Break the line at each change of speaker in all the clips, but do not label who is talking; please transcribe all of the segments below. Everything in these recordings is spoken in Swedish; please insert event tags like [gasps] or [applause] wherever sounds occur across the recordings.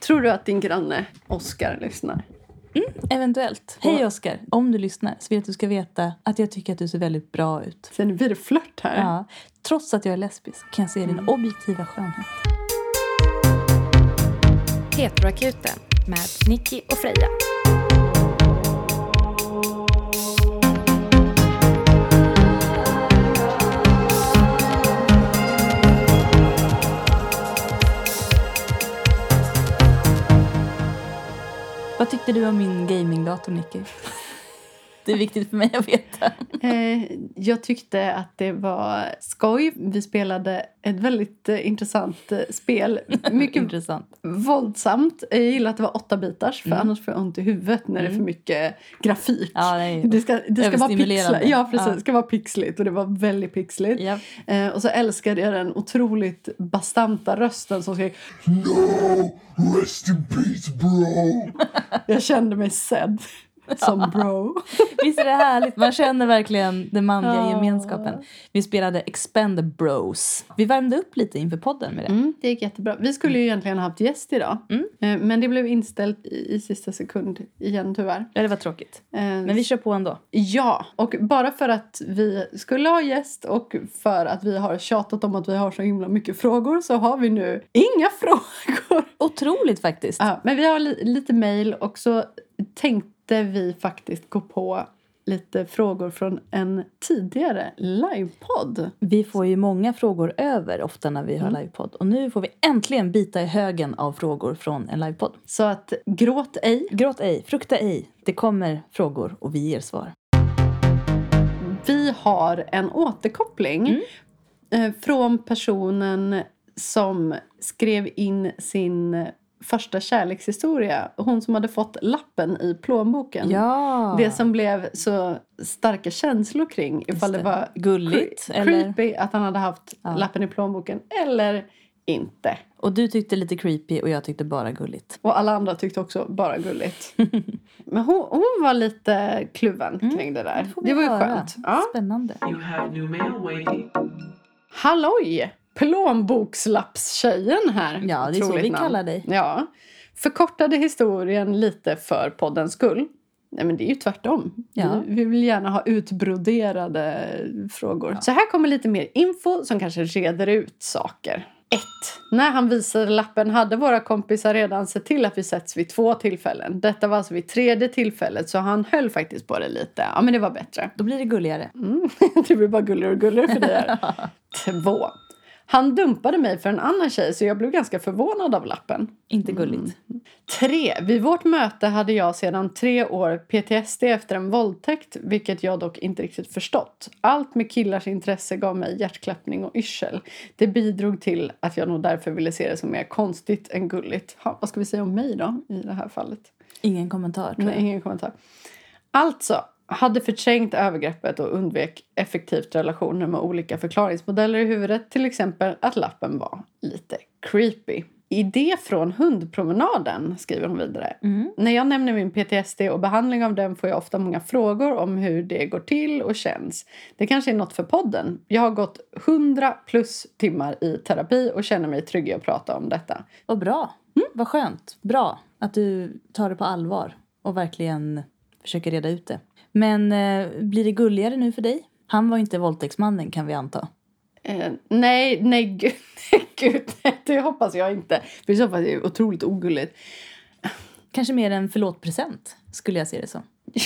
Tror du att din granne Oskar lyssnar?
Eventuellt. Hej Oskar, om du lyssnar så vill jag att du ska veta att jag tycker att du ser väldigt bra ut.
Sen blir det flört här.
Ja, trots att jag är lesbisk kan jag se
Mm.
din objektiva skönhet.
Petroakuten med Nicky och Freja.
Vad tyckte du om min gamingdator
[laughs]
Nicky? Det är viktigt för mig att veta.
Eh, jag tyckte att det var skoj. Vi spelade ett väldigt eh, intressant eh,
[laughs]
spel. Mycket
Intressant.
våldsamt. Jag gillar att det var åtta bitars för
Mm.
annars får jag ont i huvudet när det är för
Mm.
mycket grafik.
Ja, det är
Det ska, det ska vara
Överstimulerande.
pixligt. Ja, precis.
Ja.
Det ska vara pixligt och det var väldigt pixligt.
Ja.
Eh, och så älskade jag den otroligt bastanta rösten som skrek
No! Rest in peace, bro!
Jag kände mig sedd
[laughs]
som bro.
Visst är det härligt? Man känner verkligen den manliga
Ja.
gemenskapen. Vi spelade Expand Bros. Vi värmde upp lite inför podden med det.
Mm, det gick jättebra. Vi skulle ju egentligen ha haft gäst idag.
Mm.
Eh, Men det blev inställt i, i sista sekund igen tyvärr.
Ja, det var tråkigt.
Men
Men vi kör på ändå.
Ja, och bara för att vi skulle ha gäst och för att vi har tjatat om att vi har så himla mycket frågor så har vi nu inga [laughs] frågor.
Otroligt faktiskt.
Ja, men vi har li- lite mejl och så tänkte vi faktiskt gå på lite frågor från en tidigare livepodd.
Vi får ju många frågor över ofta när vi har
Mm.
livepodd. Och nu får vi äntligen bita i högen av frågor från en livepodd.
Så att gråt ej.
Gråt ej, frukta ej. Det kommer frågor och vi ger svar.
Vi har en återkoppling
Mm.
eh, från personen som skrev in sin första kärlekshistoria. Hon som hade fått lappen i plånboken.
Ja!
Mm. Det som blev så starka känslor kring ifall det.
det.
var
Gulligt,
cre-
eller?
creepy att han hade haft
Ja.
lappen i plånboken eller inte.
Och du tyckte lite creepy och jag tyckte bara gulligt.
Och alla andra tyckte också bara
[laughs]
gulligt. Men hon, hon var lite kluven
Mm.
kring det där.
Det får vi
Det var ju
höra.
skönt. Ja.
Spännande.
You have new mail waiting.
Halloj! Plånbokslappstjejen här.
Ja, det är så
Otroligt
vi
namn.
kallar dig.
Ja. Förkortade historien lite för poddens skull. Nej, men det är ju tvärtom.
Ja.
Vi, vi vill gärna ha utbroderade frågor. Så här kommer lite mer info som kanske reder ut saker. 1. När han visade lappen hade våra kompisar redan sett till att vi setts vid två tillfällen. Detta var alltså vid tredje tillfället så han höll faktiskt på det lite. Ja, men det var bättre.
Då blir det gulligare.
Mm. [laughs] Det blir bara gulligare och gulligare för dig här. Två. Han dumpade mig för en annan tjej så jag blev ganska förvånad av lappen.
Inte gulligt.
Tre. Vid vårt möte hade jag sedan tre år PTSD efter en våldtäkt vilket jag dock inte riktigt förstått. Allt med killars intresse gav mig hjärtklappning och yrsel. Det bidrog till att jag nog därför ville se det som mer konstigt än gulligt. Ha, vad ska vi säga om mig då i det här fallet?
Ingen kommentar tror
Nej,
jag.
ingen kommentar. Alltså, hade förträngt övergreppet och undvek effektivt relationer med olika förklaringsmodeller i huvudet. Till exempel att lappen var lite creepy. Idé från hundpromenaden, skriver hon vidare.
Mm.
När jag nämner min PTSD och behandling av den får jag ofta många frågor om hur det går till och känns. Det kanske är något för podden. Jag har gått 100 plus timmar i terapi och känner mig trygg i att prata om detta.
Vad bra.
Mm.
Vad skönt. Bra att du tar det på allvar och verkligen försöker reda ut det. Men eh, blir det gulligare nu för dig? Han var inte våldtäktsmannen kan vi anta.
Eh, nej, nej, gud, [laughs] nej, gud, nej, det hoppas jag inte. För i så fall är det ju otroligt ogulligt. [laughs]
Kanske mer en förlåt-present skulle jag se det som.
Ja,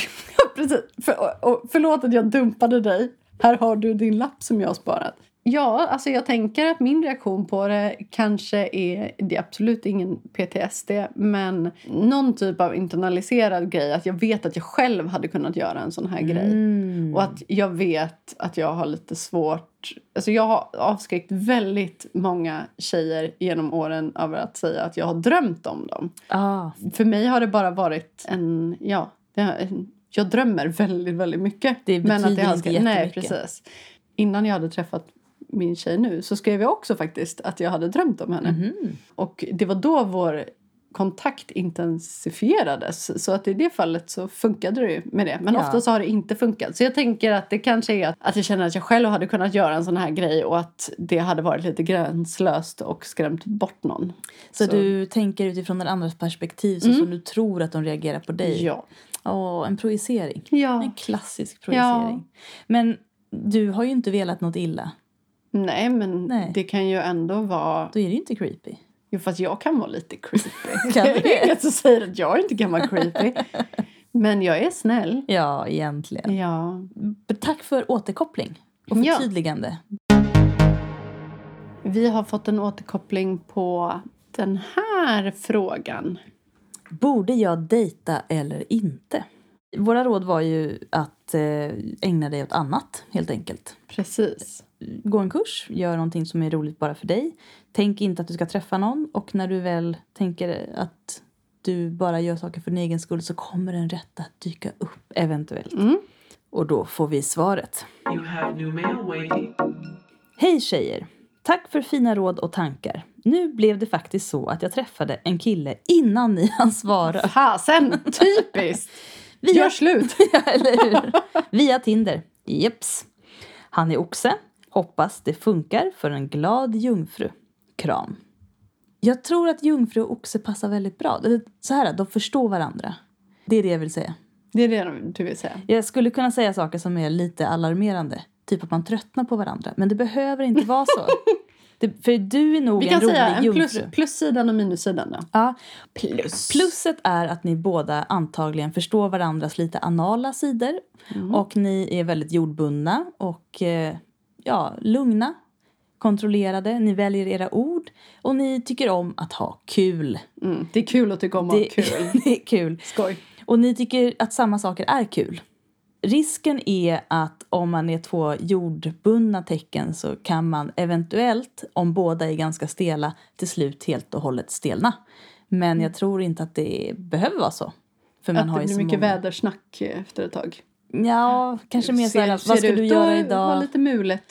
Precis. För, och, och, förlåt att jag dumpade dig. Här har du din lapp som jag har sparat. Ja, alltså jag tänker att min reaktion på det kanske är... Det är absolut ingen PTSD, men någon typ av internaliserad grej. Att jag vet att jag själv hade kunnat göra en sån här grej.
Mm.
Och att jag vet att jag har lite svårt... Alltså jag har avskräckt väldigt många tjejer genom åren över att säga att jag har drömt om dem.
ah,
För mig har det bara varit en... Ja, det har- en- jag drömmer väldigt, väldigt mycket.
Det betyder
har-
inte
Nej,
jättemycket.
precis. Innan jag hade träffat min tjej nu så skrev jag också faktiskt att jag hade drömt om henne.
mhm.
Och det var då vår kontakt intensifierades. Så att i det fallet så funkade det ju med det. Men
Ja.
ofta så har det inte funkat. Så jag tänker att det kanske är att, att jag känner att jag själv hade kunnat göra en sån här grej och att det hade varit lite gränslöst och skrämt bort någon.
Så,
Så- Mm.
du tänker utifrån den andras perspektiv så som du tror att de reagerar på dig.
Ja.
Åh, en projicering. En
ja.
klassisk projicering. Men du har ju inte velat något illa.
Nej, men
Nej.
det kan ju ändå vara...
Då är det ju inte creepy.
Jo, fast jag kan vara lite creepy.
[laughs] Kan du
det
det?
är inget som säger att [laughs] jag inte kan vara
[laughs]
creepy. Men jag är snäll.
Ja, egentligen.
Ja.
Men Tack för återkoppling och
Ja.
förtydligande.
Vi har fått en återkoppling på den här frågan.
Borde jag dejta eller inte? Våra råd var ju att eh, ägna dig åt annat, helt enkelt.
Precis.
Gå en kurs, gör någonting som är roligt bara för dig. Tänk inte att du ska träffa någon och när du väl tänker att du bara gör saker för din egen skull så kommer den rätta att dyka upp eventuellt.
Mm.
Och då får vi svaret.
You have new mail waiting.
Hej tjejer! Tack för fina råd och tankar. Nu blev det faktiskt så att jag träffade en kille innan ni [laughs] hann svara.
Fasen! Typiskt!
Via,
Gör slut!
[laughs] eller hur? Via Tinder. Jeps. Han är oxe. Hoppas det funkar för en glad jungfru. Kram. Jag tror att jungfru och oxe passar väldigt bra. Eller Så här, de förstår varandra. Det är det jag vill säga.
Det är det du vill säga.
Jag skulle kunna säga saker som är lite alarmerande. Typ att man tröttnar på varandra. Men det behöver inte vara
[laughs]
så. Det, för du är nog
Vi kan
en rolig
säga en
jungfru.
plus, plussidan och minussidan då.
Ja.
Plus.
Plusset är att ni båda antagligen förstår varandras lite anala sidor. Och ni är väldigt jordbundna och eh, ja, lugna, kontrollerade. Ni väljer era ord och ni tycker om att ha kul.
Mm. Det är kul att tycka om att ha kul.
[laughs] det är kul.
[laughs] Skoj.
Och ni tycker att samma saker är kul. Risken är att om man är två jordbundna tecken så kan man eventuellt, om båda är ganska stela, till slut helt och hållet stelna. Men jag tror inte att det behöver vara så. För man
Att
har
det
ju
blir
så
mycket
många...
vädersnack efter ett tag.
Ja, kanske mer så här,
Ser-
vad
ser
ska
ut
du göra
att vara
idag?
lite mulet.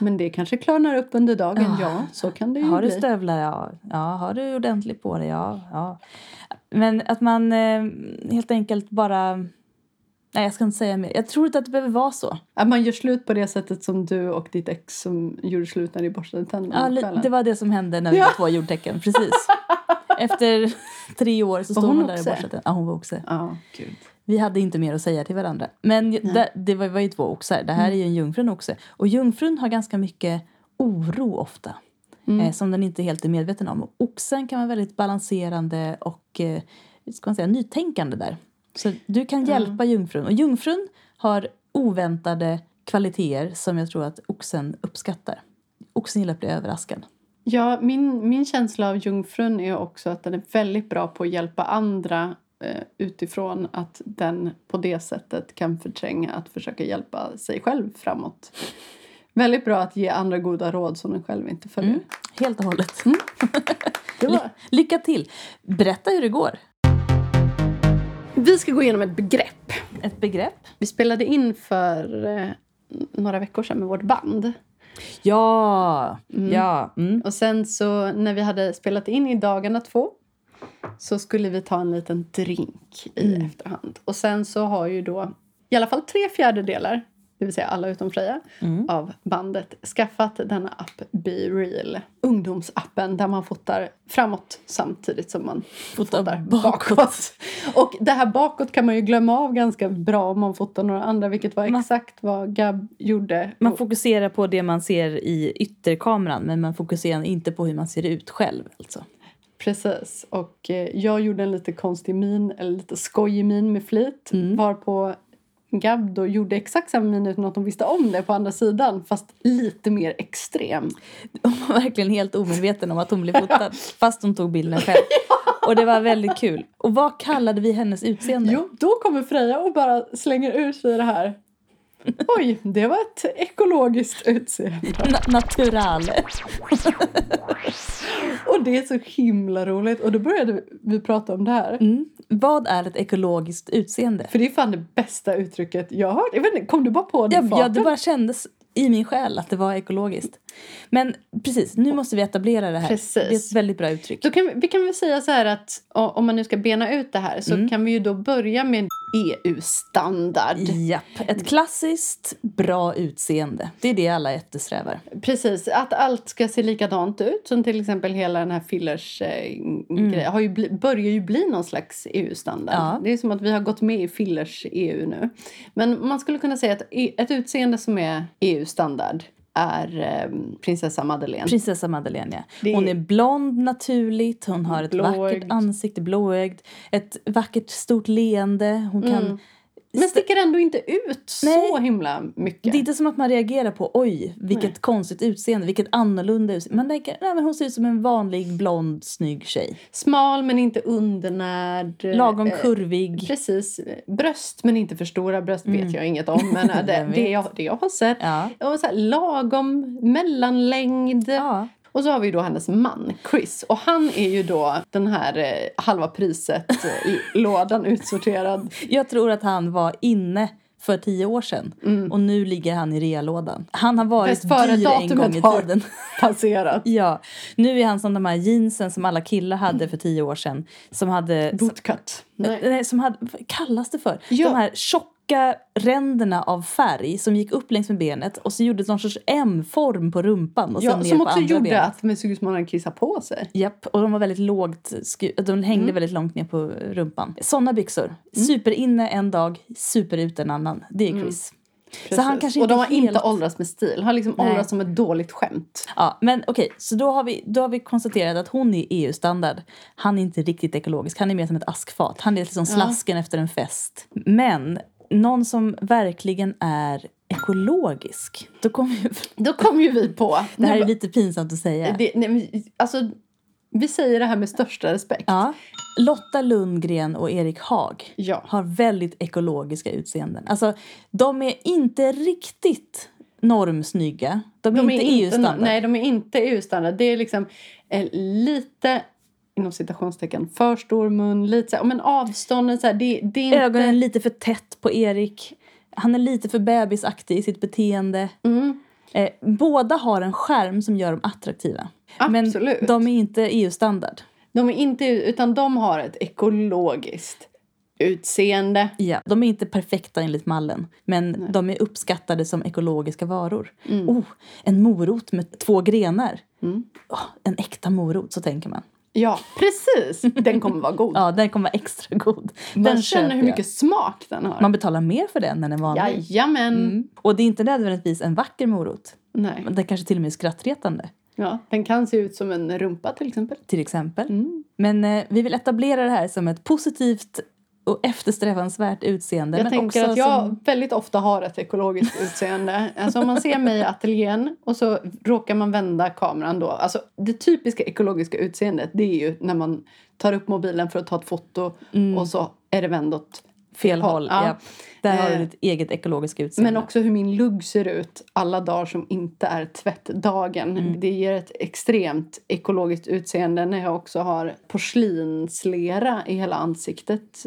Men det kanske klarnar upp under dagen.
Ah.
Ja, så kan det ju
Har du
bli.
stövlar? Ja. ja. Har du ordentligt på dig? Ja. ja. Men att man eh, helt enkelt bara... Nej, jag ska inte säga mer. Jag tror inte att det behöver vara så.
Att man gör slut på det sättet som du och ditt ex som gjorde slut när ni borstade tänderna
Ja,
på
li-
kvällen.
det var det som hände när vi
Ja.
var två jordtecken,
[laughs]
precis. Efter [laughs] tre år så
Var
stod
hon
man där i
oxe?
borstsätet. Ja, hon var oxe.
Ja, gud.
Vi hade inte mer att säga till varandra. Men ju- det, det var, var ju två oxar. Det
Mm.
här är ju en jungfru och en oxe. Och jungfrun har ganska mycket oro ofta.
Mm.
Eh, som den inte helt är medveten om. Och oxen kan vara väldigt balanserande och eh, ska man säga, nytänkande där. Så du kan hjälpa jungfrun. Och jungfrun har oväntade kvaliteter som jag tror att oxen uppskattar. Oxen gillar att bli överraskad.
Ja, min, min känsla av jungfrun är också att den är väldigt bra på att hjälpa andra eh, utifrån att den på det sättet kan förtränga att försöka hjälpa sig själv framåt. Väldigt bra att ge andra goda råd som den själv inte följer.
Helt och hållet.
Mm. Det var-
Lycka till! Berätta hur det går.
Vi ska gå igenom ett begrepp.
Ett begrepp.
Vi spelade in för eh, några veckor sedan med vårt band.
Ja! ja. Mm.
Och sen så när vi hade spelat in i dagarna två så skulle vi ta en liten drink i
Mm.
efterhand. Och sen så har ju då i alla fall tre fjärdedelar, det vill säga alla utom Freja,
Mm.
av bandet skaffat denna app Be Real. Ungdomsappen där man fotar framåt samtidigt som man fotar, bakåt. Och det här bakåt kan man ju glömma av ganska bra om man fotar några andra, vilket var
Man-
exakt vad Gab gjorde.
Man fokuserar på det man ser i ytterkameran men man fokuserar inte på hur man ser ut själv. Alltså. [laughs]
Precis. Och eh, jag gjorde en lite konstig min, eller lite skojig min med flit. Varpå Gab då gjorde exakt samma min utan att hon visste om det på andra sidan. Fast lite mer extrem.
Hon var verkligen helt omedveten om att hon blev fotad fast hon tog bilden [laughs] själv. Och det var väldigt kul. Och vad kallade vi hennes utseende?
Jo, då kommer Freja och bara slänger ur sig det här. [laughs] Oj, det var ett ekologiskt utseende.
Na- natural.
Och det är så himla roligt. Och då började vi prata om det här.
Mm. Vad är ett ekologiskt utseende?
För det är fan det bästa uttrycket jag har hört. Jag vet inte, kom du bara på det i
Ja, ja,
farten?
det bara kändes i min själ att det var ekologiskt. Men precis, nu måste vi etablera det här.
Precis.
Det är ett väldigt bra uttryck.
Då kan vi, vi kan väl säga så här att o- om man nu ska bena ut det här så
Mm.
kan vi ju då börja med E EU-standard.
Japp, ett klassiskt bra utseende. Det är det alla eftersträvar.
Precis, att allt ska se likadant ut. Som till exempel hela den här fillers eh, grej, har ju bli, börjar ju bli någon slags EU-standard.
Mm. Ja.
Det är som att vi har gått med i fillers EU nu. Men man skulle kunna säga att e- ett utseende som är EU-standard är eh, prinsessa Madeleine.
Prinsessa Madeleine, ja.
Det-
Hon är blond naturligt, hon har ett vackert
Blåögd.
ansikte, blåögd, ett vackert stort leende. Hon kan...
Mm. Men sticker ändå inte ut
Nej.
så himla mycket.
Det är inte som att man reagerar på oj, vilket
Nej.
konstigt utseende, vilket annorlunda utseende. Man tänker, nej men hon ser ut som en vanlig blond snygg tjej.
Smal men inte undernärd.
Lagom
Eh,
kurvig.
Precis. Bröst men inte för stora bröst
Mm.
vet jag inget om.
[laughs]
Men eh, det,
Vem
det,
vet?
jag, det jag har sett.
Ja.
Och så här, lagom mellanlängd.
ja.
Och så har vi ju då hennes man, Chris. Och han är ju då den här eh, halva
[laughs]
priset-lådan utsorterad.
Jag tror att han var inne för tio år sedan och nu ligger han i realådan. Han har varit
Mm. Bäst före
dyr en gång i
datumet har
tiden. [laughs]
passerat.
Ja, nu är han som de här jeansen som alla killar hade för tio år sedan. Som hade... Som,
Bootcut.
nej.
Nej.
som hade vad kallas det för?
Ja.
De här tjocka ränderna av färg som gick upp längs med benet och så gjorde någon sorts M-form på rumpan och sen
Ja,
ner
som
på
också
andra
gjorde
benet.
att man såg ut som att man hade kissat på sig.
Japp, och de var väldigt lågt sku- de hängde
Mm.
väldigt långt ner på rumpan. Såna byxor. Superinne en dag, superut en annan. Det är Chris. Så han
Mm. Precis.
kanske
och de har
helt...
inte åldrats med stil. Har liksom
Nej.
åldrats som ett dåligt skämt.
Ja, men okej, så då har, vi, då har vi konstaterat att hon är EU-standard. Han är inte riktigt ekologisk, han är mer som ett askfat. Han är liksom slasken efter en fest. Men någon som verkligen är ekologisk, då kommer ju... [laughs]
Då kom ju vi på...
Det här
Nu
är
ba-
lite pinsamt att säga.
det, nej, men, alltså, vi säger det här med största respekt.
Ja. Lotta Lundgren och Erik Haag
Ja.
har väldigt ekologiska utseenden. Alltså, de är inte riktigt normsnygga. De är,
De är
inte E EU-standard.
Nej, de är inte EU-standard. Det är liksom eh, lite, inom citationstecken, för stor mun. Lite så här, men avstånden så här, det, det är inte...
Ögonen är lite för tätt på Erik. Han är lite för bebisaktig i sitt beteende.
Mm,
Eh, båda har en skärm som gör dem attraktiva.
absolut. de...
Men de är inte EU-standard.
är inte EU, utan de har ett ekologiskt utseende.
Ja. De är inte perfekta enligt mallen, men de är uppskattade som ekologiska varor.
Mm.
Oh, en morot med två grenar. Åh, en äkta morot, så tänker man.
Ja, precis! Den kommer vara god.
[laughs] Ja, den kommer vara extra god.
Man
den
känner
köper
hur
jag.
mycket smak den har.
Man betalar mer för den än en vanlig.
Jajamän!
Mm. Och det är inte nödvändigtvis en vacker morot.
Nej.
Den kanske till och med är skrattretande.
Ja, den kan se ut som en rumpa till exempel.
till exempel.
Mm.
Men eh, vi vill etablera det här som ett positivt och eftersträvansvärt utseende.
Jag
men
tänker
också
att jag
Som,
väldigt ofta har ett ekologiskt utseende. Alltså om man ser mig i ateljén och så råkar man vända kameran då. Alltså det typiska ekologiska utseendet det är ju när man tar upp mobilen för att ta ett foto
Mm.
och så är det vänd åt
fel håll. Ja.
Ja.
Där har
Eh,
du ditt eget ekologiska utseende.
Men också hur min lugg ser ut alla dagar som inte är tvättdagen. Det ger ett extremt ekologiskt utseende när jag också har porslinslera i hela ansiktet.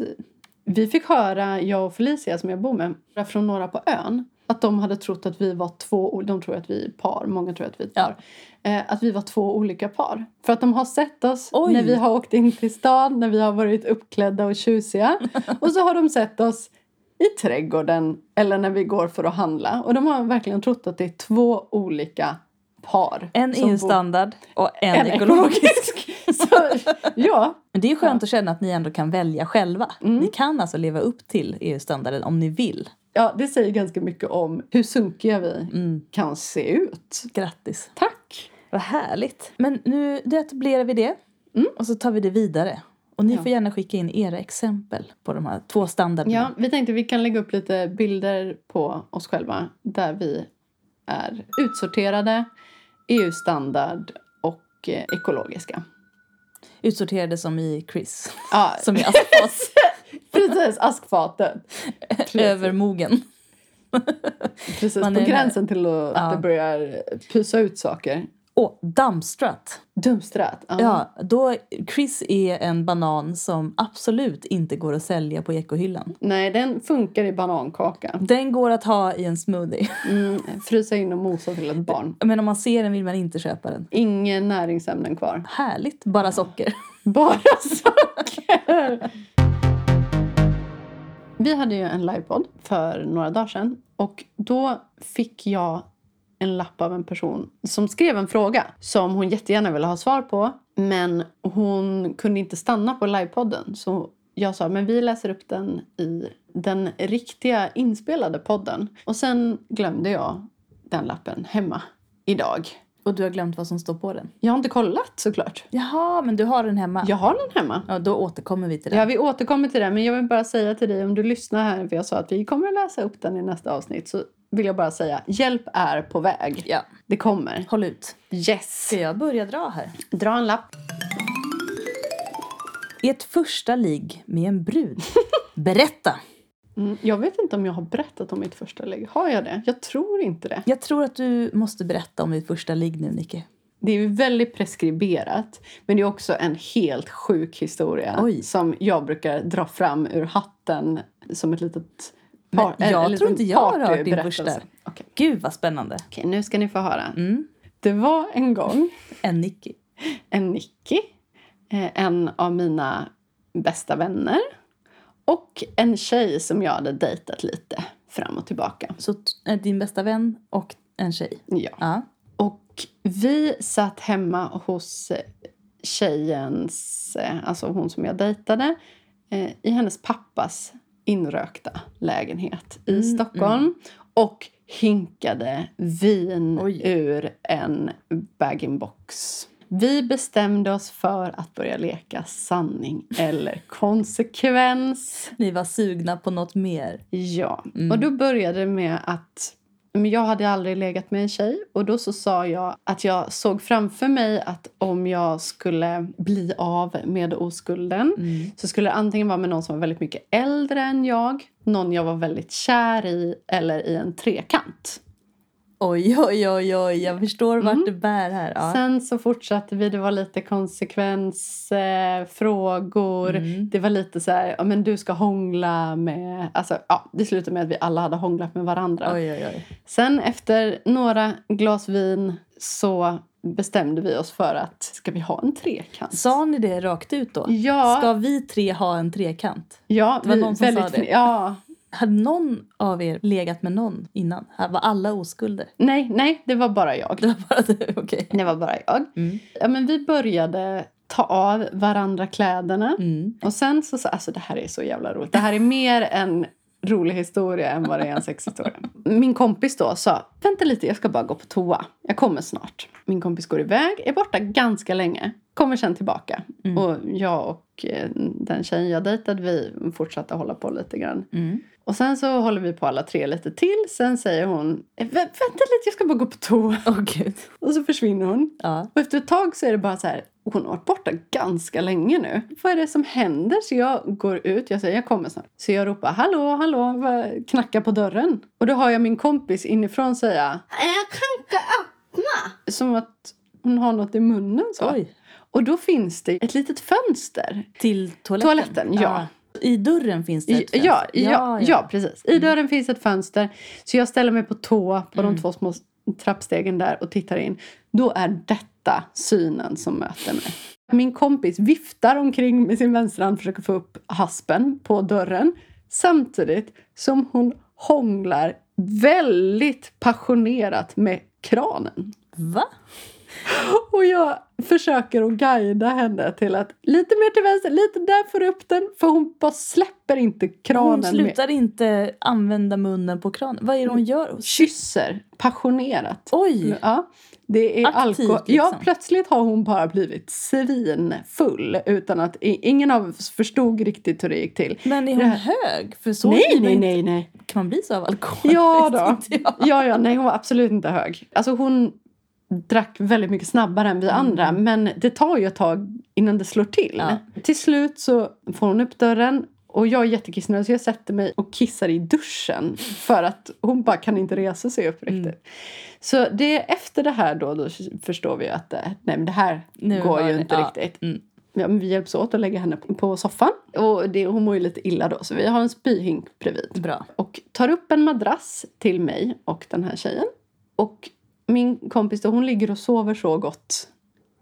Vi fick höra, jag och Felicia som jag bor med, från några på ön att de hade trott att vi var två, de tror att vi är par, många tror att vi är ett par. Eh, Att vi var två olika par. För att de har sett oss
Oj.
när vi har åkt in till stan, när vi har varit uppklädda och tjusiga. Och så har de sett oss i trädgården eller när vi går för att handla. Och de har verkligen trott att det är två olika par.
en
som bor-
EU-standard och en,
[laughs] En
ekologisk.
[laughs] ekologisk. så, ja, Mm.
Men det är skönt att känna att ni ändå kan välja själva. Ni kan alltså leva upp till EU-standarden om ni vill.
ja, det säger ganska mycket om hur sunkiga vi kan se ut.
Mm. Grattis!
Tack!
Vad härligt! Men nu då etablerar vi det Mm, och så tar vi det vidare. Och ni
Ja.
får gärna skicka in era exempel på de här två standarderna.
Ja, vi tänkte vi kan lägga upp lite bilder på oss själva där vi är utsorterade, EU-standard och eh, ekologiska.
Utsorterade som i Chris.
Ja,
Som i asfalt.
[laughs]
[laughs]
precis, askfatet.
övermogen.
Precis,
Man
på
är-
gränsen till att,
Ja.
att det börjar pysa ut saker.
Och dumpstrat.
Dumstrat. Ja.
Ja, då Chris är en banan som absolut inte går att sälja på ekohyllan.
Nej, den funkar i banankaka.
Den går att ha i en smoothie. [laughs]
Mm, frysa in och mosa till ett barn.
Men om man ser den vill man inte köpa den.
Inga näringsämnen kvar.
Härligt, bara socker.
Bara [laughs] saker! Vi hade ju en livepodd för några dagar sedan. Och då fick jag en lapp av en person som skrev en fråga som hon jättegärna ville ha svar på. Men hon kunde inte stanna på livepodden. Så jag sa men vi läser upp den i den riktiga inspelade podden. Och sen glömde jag den lappen hemma idag.
Och du har glömt vad som står på den.
Jag har inte kollat såklart.
Jaha, men du har den hemma?
Jag har den hemma.
Ja, då återkommer vi till den.
Ja, vi återkommer till det. Men jag vill bara säga till dig om du lyssnar här, för jag sa att vi kommer att läsa upp den i nästa avsnitt, så vill jag bara säga hjälp är på väg.
Ja,
Det kommer.
håll ut.
Yes!
Ska jag börja dra här?
Dra en lapp.
Ert första ligg med en [laughs] brud. Berätta!
Mm, jag vet inte om jag har berättat om mitt första lägg. Har jag det? Jag tror inte det.
Jag tror att du måste berätta om ditt första ligg nu, Nicke.
Det är ju väldigt preskriberat, men det är också en helt sjuk historia
Oj.
som jag brukar dra fram ur hatten som ett litet
Men
en- en
jag
liten
tror inte jag har hört din
partyberättelse.
första.
Okej.
Gud, vad spännande!
Okej, nu ska ni få höra.
Mm.
Det var en gång
En Nicky.
en Nicky, eh, en av mina bästa vänner och en tjej som jag hade dejtat lite fram och tillbaka.
Så t- eh, din bästa vän och en tjej.
Ja.
Ja.
Och vi satt hemma hos eh, tjejens, eh, alltså hon som jag dejtade, eh, i hennes pappas inrökta lägenhet i Stockholm. Och hinkade vin
Oj.
ur en bag-in-box. Vi bestämde oss för att börja leka sanning eller konsekvens.
Ni var sugna på något mer.
Ja,
Mm.
och då började det med att men jag hade aldrig legat med en tjej och då så sa jag att jag såg framför mig att om jag skulle bli av med oskulden
Mm.
så skulle det antingen vara med någon som var väldigt mycket äldre än jag, någon jag var väldigt kär i eller i en trekant.
Oj, oj, oj, oj. Jag förstår vart det bär här. Ja.
Sen så fortsatte vi. Det var lite konsekvensfrågor. Eh, frågor.
Mm.
Det var lite så här, ja, men du ska hångla med... Alltså, ja, det slutade med att vi alla hade hånglat med varandra.
Oj, oj, oj.
Sen efter några glas vin så bestämde vi oss för att ska vi ha en trekant?
Sa ni det rakt ut då?
Ja.
Ska vi tre ha en trekant?
ja,
det var någon som sa det.
Ja,
Hade någon av er legat med någon innan? Här Var alla oskulder?
nej, nej, det var bara
Det
jag.
var bara [laughs] du, okej.
Det var bara jag.
Mm.
Ja, men vi började ta av varandra kläderna.
Mm.
Och sen så, så, alltså det här är så jävla roligt. Det här är mer en rolig historia än vad det är en sexhistoria. Min kompis då sa, vänta lite jag ska bara gå på toa. Jag kommer snart. Min kompis går iväg, är borta ganska länge. Kommer sen tillbaka.
Mm.
Och jag och eh, den tjejen jag dejtade, vi fortsatte hålla på lite grann.
Mm.
Och sen så håller vi på alla tre lite till. Sen säger hon, "Eh, "Vä- vänta lite jag ska bara gå på toa.
Åh gud.
Och så försvinner hon.
Ja.
Och efter ett tag så är det bara så här, hon har varit borta ganska länge nu. Vad är det som händer? Så jag går ut, jag säger jag kommer snart. Så jag ropar hallå, hallå, vad- knackar på dörren. Och då hör jag min kompis inifrån säga jag kan inte öppna. Som att hon har något i munnen så.
Oj.
Och då finns det ett litet fönster.
Till toaletten?
Toaletten, ja.
I dörren finns det Mm.
I-
ett fönster.
Ja, ja, ja. precis. I dörren finns ett fönster. Så jag ställer mig på tå på
Mm.
de två små s- trappstegen där och tittar in. Då är detta synen som möter mig. Min kompis viftar omkring med sin vänstra hand försöker få upp haspen på dörren. Samtidigt som hon hånglar väldigt passionerat med kranen.
Va?
Och jag försöker att guida henne till att lite mer till vänster, lite där får du upp den. För hon bara släpper inte kranen.
Hon
med- Mm.
slutar inte använda munnen på kranen. Vad är det hon gör?
Kysser passionerat.
Oj!
Ja, det är
Aktivt,
alkohol. Ja,
liksom.
plötsligt har hon bara blivit svinfull utan att i- ingen av oss förstod riktigt hur det gick till.
Men är hon
Det här-
hög? För så
Mm. nej,
blir man
nej,
inte-
nej, nej.
Kan man bli så av alkohol?
Ja
Vet
då.
inte [laughs]
[laughs]
jag.
Ja, ja, nej hon var absolut inte hög. Alltså hon drack väldigt mycket snabbare än vi andra men det tar ju ett tag innan det slår till.
Mm. Ja.
Till slut så får hon upp dörren Och jag är jättekissnödig så jag sätter mig och kissar i duschen för att hon bara kan inte resa sig upp riktigt.
Mm.
Så det, efter det här då, då förstår vi att eh, nej, men det här
Nu
går
var
ju
det-
inte
ja.
riktigt.
Mm.
Ja, men vi hjälps åt att lägga henne på- på soffan. Och det, hon mår ju lite illa då så vi har en spyhink bredvid
Bra.
och tar upp en madrass till mig och den här tjejen. Och min kompis då, hon ligger och sover så gott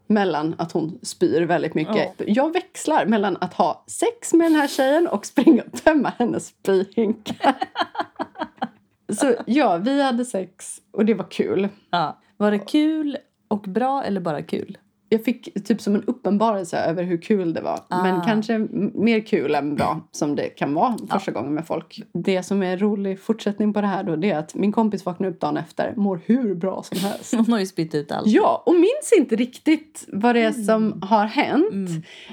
mellan att hon spyr väldigt mycket. Jag växlar mellan att ha sex med den här tjejen och springa och tömma hennes spyhinkar. så ja, vi hade sex och det var kul.
Ja. Var det kul och bra eller bara kul? [laughs]
Jag fick typ som en uppenbarelse över hur kul det var.
Ah.
Men kanske m- mer kul än bra som det kan vara första gången med folk. Det som är rolig fortsättning på det här då det är att min kompis vaknar upp dagen efter, mår hur bra som
[laughs]
helst.
Hon har ju spytt ut allt.
Ja, och minns inte riktigt vad det är som har hänt.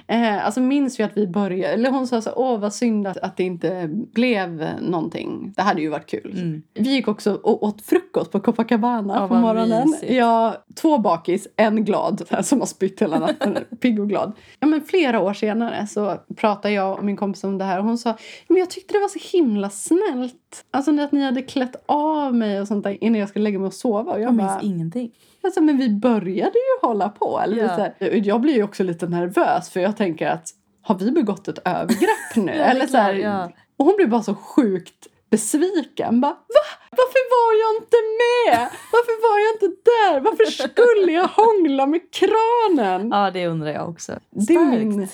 Mm.
Eh, alltså minns ju att vi började, eller hon sa så här, åh vad synd att, att det inte blev någonting. Det hade ju varit kul.
Mm.
Vi gick också och åt frukost på Copacabana
Ja,
på
vad
morgonen.
mysigt.
Ja, två bakis, en glad som har spytt hela
[laughs]
natten. Pigg och glad. Ja, men flera år senare så pratade jag och min kompis om det här. Och hon sa men jag tyckte det var så himla snällt. Alltså att ni hade klätt av mig och sånt där innan jag skulle lägga mig och sova. Och jag
Jag minns
bara,
ingenting.
Alltså, men vi började ju hålla på. Eller
Ja.
så här, jag blir ju också lite nervös för jag tänker att har vi begått ett övergrepp
[laughs]
nu?
det är
eller så här,
klart, ja.
Och hon blir bara så sjukt besviken. Bara, Va? Varför var jag inte med? Varför var jag inte där? Varför skulle jag hångla med kranen?
Ja, det undrar jag också.
Det är min-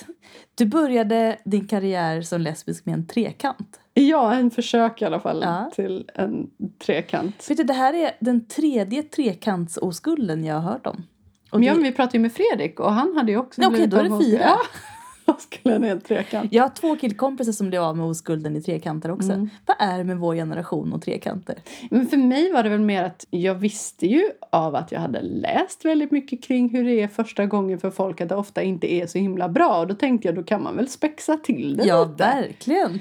Du började din karriär som lesbisk med en trekant.
Ja, en försök i alla fall
Ja.
till en trekant.
Vet du, det här är den tredje trekantsoskulden jag har hört om. Och
Men, ja,
det-
men vi pratade ju med Fredrik och han hade ju också
Nej, okej,
blivit
då är det
av med Oscar.
fyra.
Ja, [laughs] han skulle ner en trekant.
Jag har två killkompisar som blev av med oskulden i trekanter också.
Mm.
Vad är det med vår generation och trekanter?
Men för mig var det väl mer att jag visste ju av att jag hade läst väldigt mycket kring hur det är första gången för folk att det ofta inte är så himla bra. Och då tänkte jag då kan man väl spexa till det
Ja,
lite.
verkligen!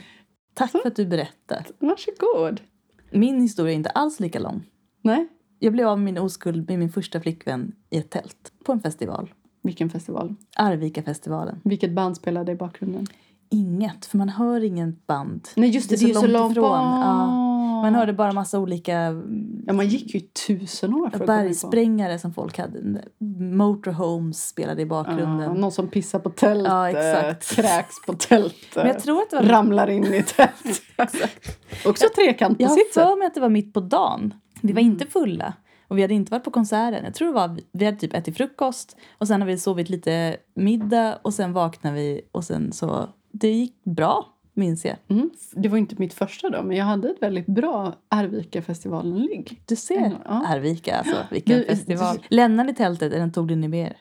Tack för att du berättade.
Varsågod.
Min historia är inte alls lika lång.
Nej,
Jag blev av med min oskuld med min första flickvän i ett tält på en festival.
vilken festival.
Arvikafestivalen.
Vilket band spelade i bakgrunden?
Inget, för man hör inget band.
Nej just det, det, är ju så långt
ifrån.
bort.
Ja. Man hörde bara massa olika mm,
Ja, man gick ju tusen år för att komma in
bergsprängare som folk hade. Motorhomes spelade i
på. Ja,
bakgrunden.
någon som pissar på tältet,
Ja, exakt.
kräks på tältet,
Men jag tror att det var
ramlar in i
[laughs]
tältet. Också trekant på
Jag
sitt
har
sätt.
för mig att det var mitt på dagen. Vi var inte fulla. Och vi hade inte varit på konserten. Jag tror det var, vi hade typ ätit frukost och sen har vi sovit lite middag och sen vaknade vi och sen så... Det gick bra, minns jag.
Mm. Det var inte mitt första då, men jag hade ett väldigt bra Arvika-festivalen-ligg.
Du ser,
Mm, Ja. [gasps]
Arvika alltså, vilken
Du-
festival. Lämnade ni tältet eller tog ni med er?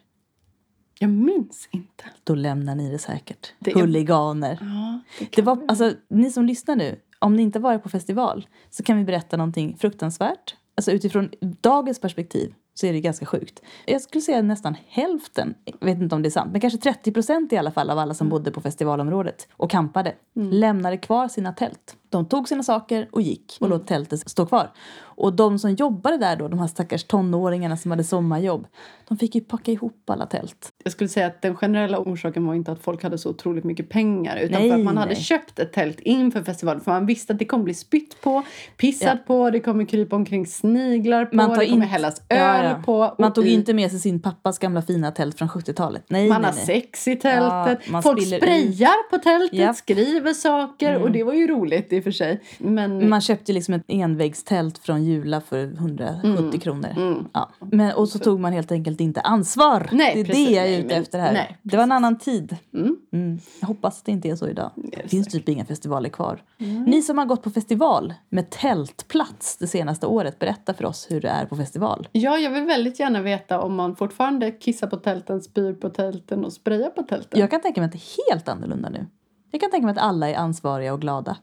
Jag minns inte.
Då lämnar ni det säkert.
Det är-
Huliganer.
Ja,
Det var, alltså, ni som lyssnar nu, om ni inte har varit på festival så kan vi berätta någonting fruktansvärt. Alltså utifrån dagens perspektiv så är det ganska sjukt. Jag skulle säga nästan hälften, jag vet inte om det är sant, men kanske 30 procent i alla fall av alla som bodde på festivalområdet och kampade lämnade kvar sina tält. De tog sina saker och gick och låt tältet stå kvar. Och de som jobbade där då, de här stackars tonåringarna som hade sommarjobb, de fick ju packa ihop alla tält.
Jag skulle säga att den generella orsaken var inte att folk hade så otroligt mycket pengar utan
Nej,
för att man hade
nej.
köpt ett tält inför festivalen för man visste att det kommer bli spytt på, pissat på, det kommer krypa omkring sniglar på, det kommer
inte-
hällas
Ja,
öl
ja.
på. och
Man tog
i-
inte med sig sin pappas gamla fina tält från 70-talet. Nej,
Man
nej,
har
nej.
sex i tältet,
Ja, man
folk
spiller
sprayar på tältet,
Japp. Mm.
skriver saker och det var ju roligt i och för sig. Men
Man köpte liksom ett envägstält från Jula för 170 kronor.
Mm.
Ja. Men, och så tog man helt enkelt inte ansvar.
Nej,
det är
precis.
det jag är
Nej,
ute
men-
efter här.
nej,
det var en annan tid.
Mm.
Jag hoppas att det inte är så idag. Det
det
finns typ inga festivaler kvar.
Mm.
Ni som har gått på festival med tältplats det senaste året, berätta för oss hur det är på festival.
Ja, jag vill väldigt gärna veta om man fortfarande kissar på tälten, spyr på tälten och sprayar på tälten.
Jag kan tänka mig att det är helt annorlunda nu. Jag kan tänka mig att alla är ansvariga och glada.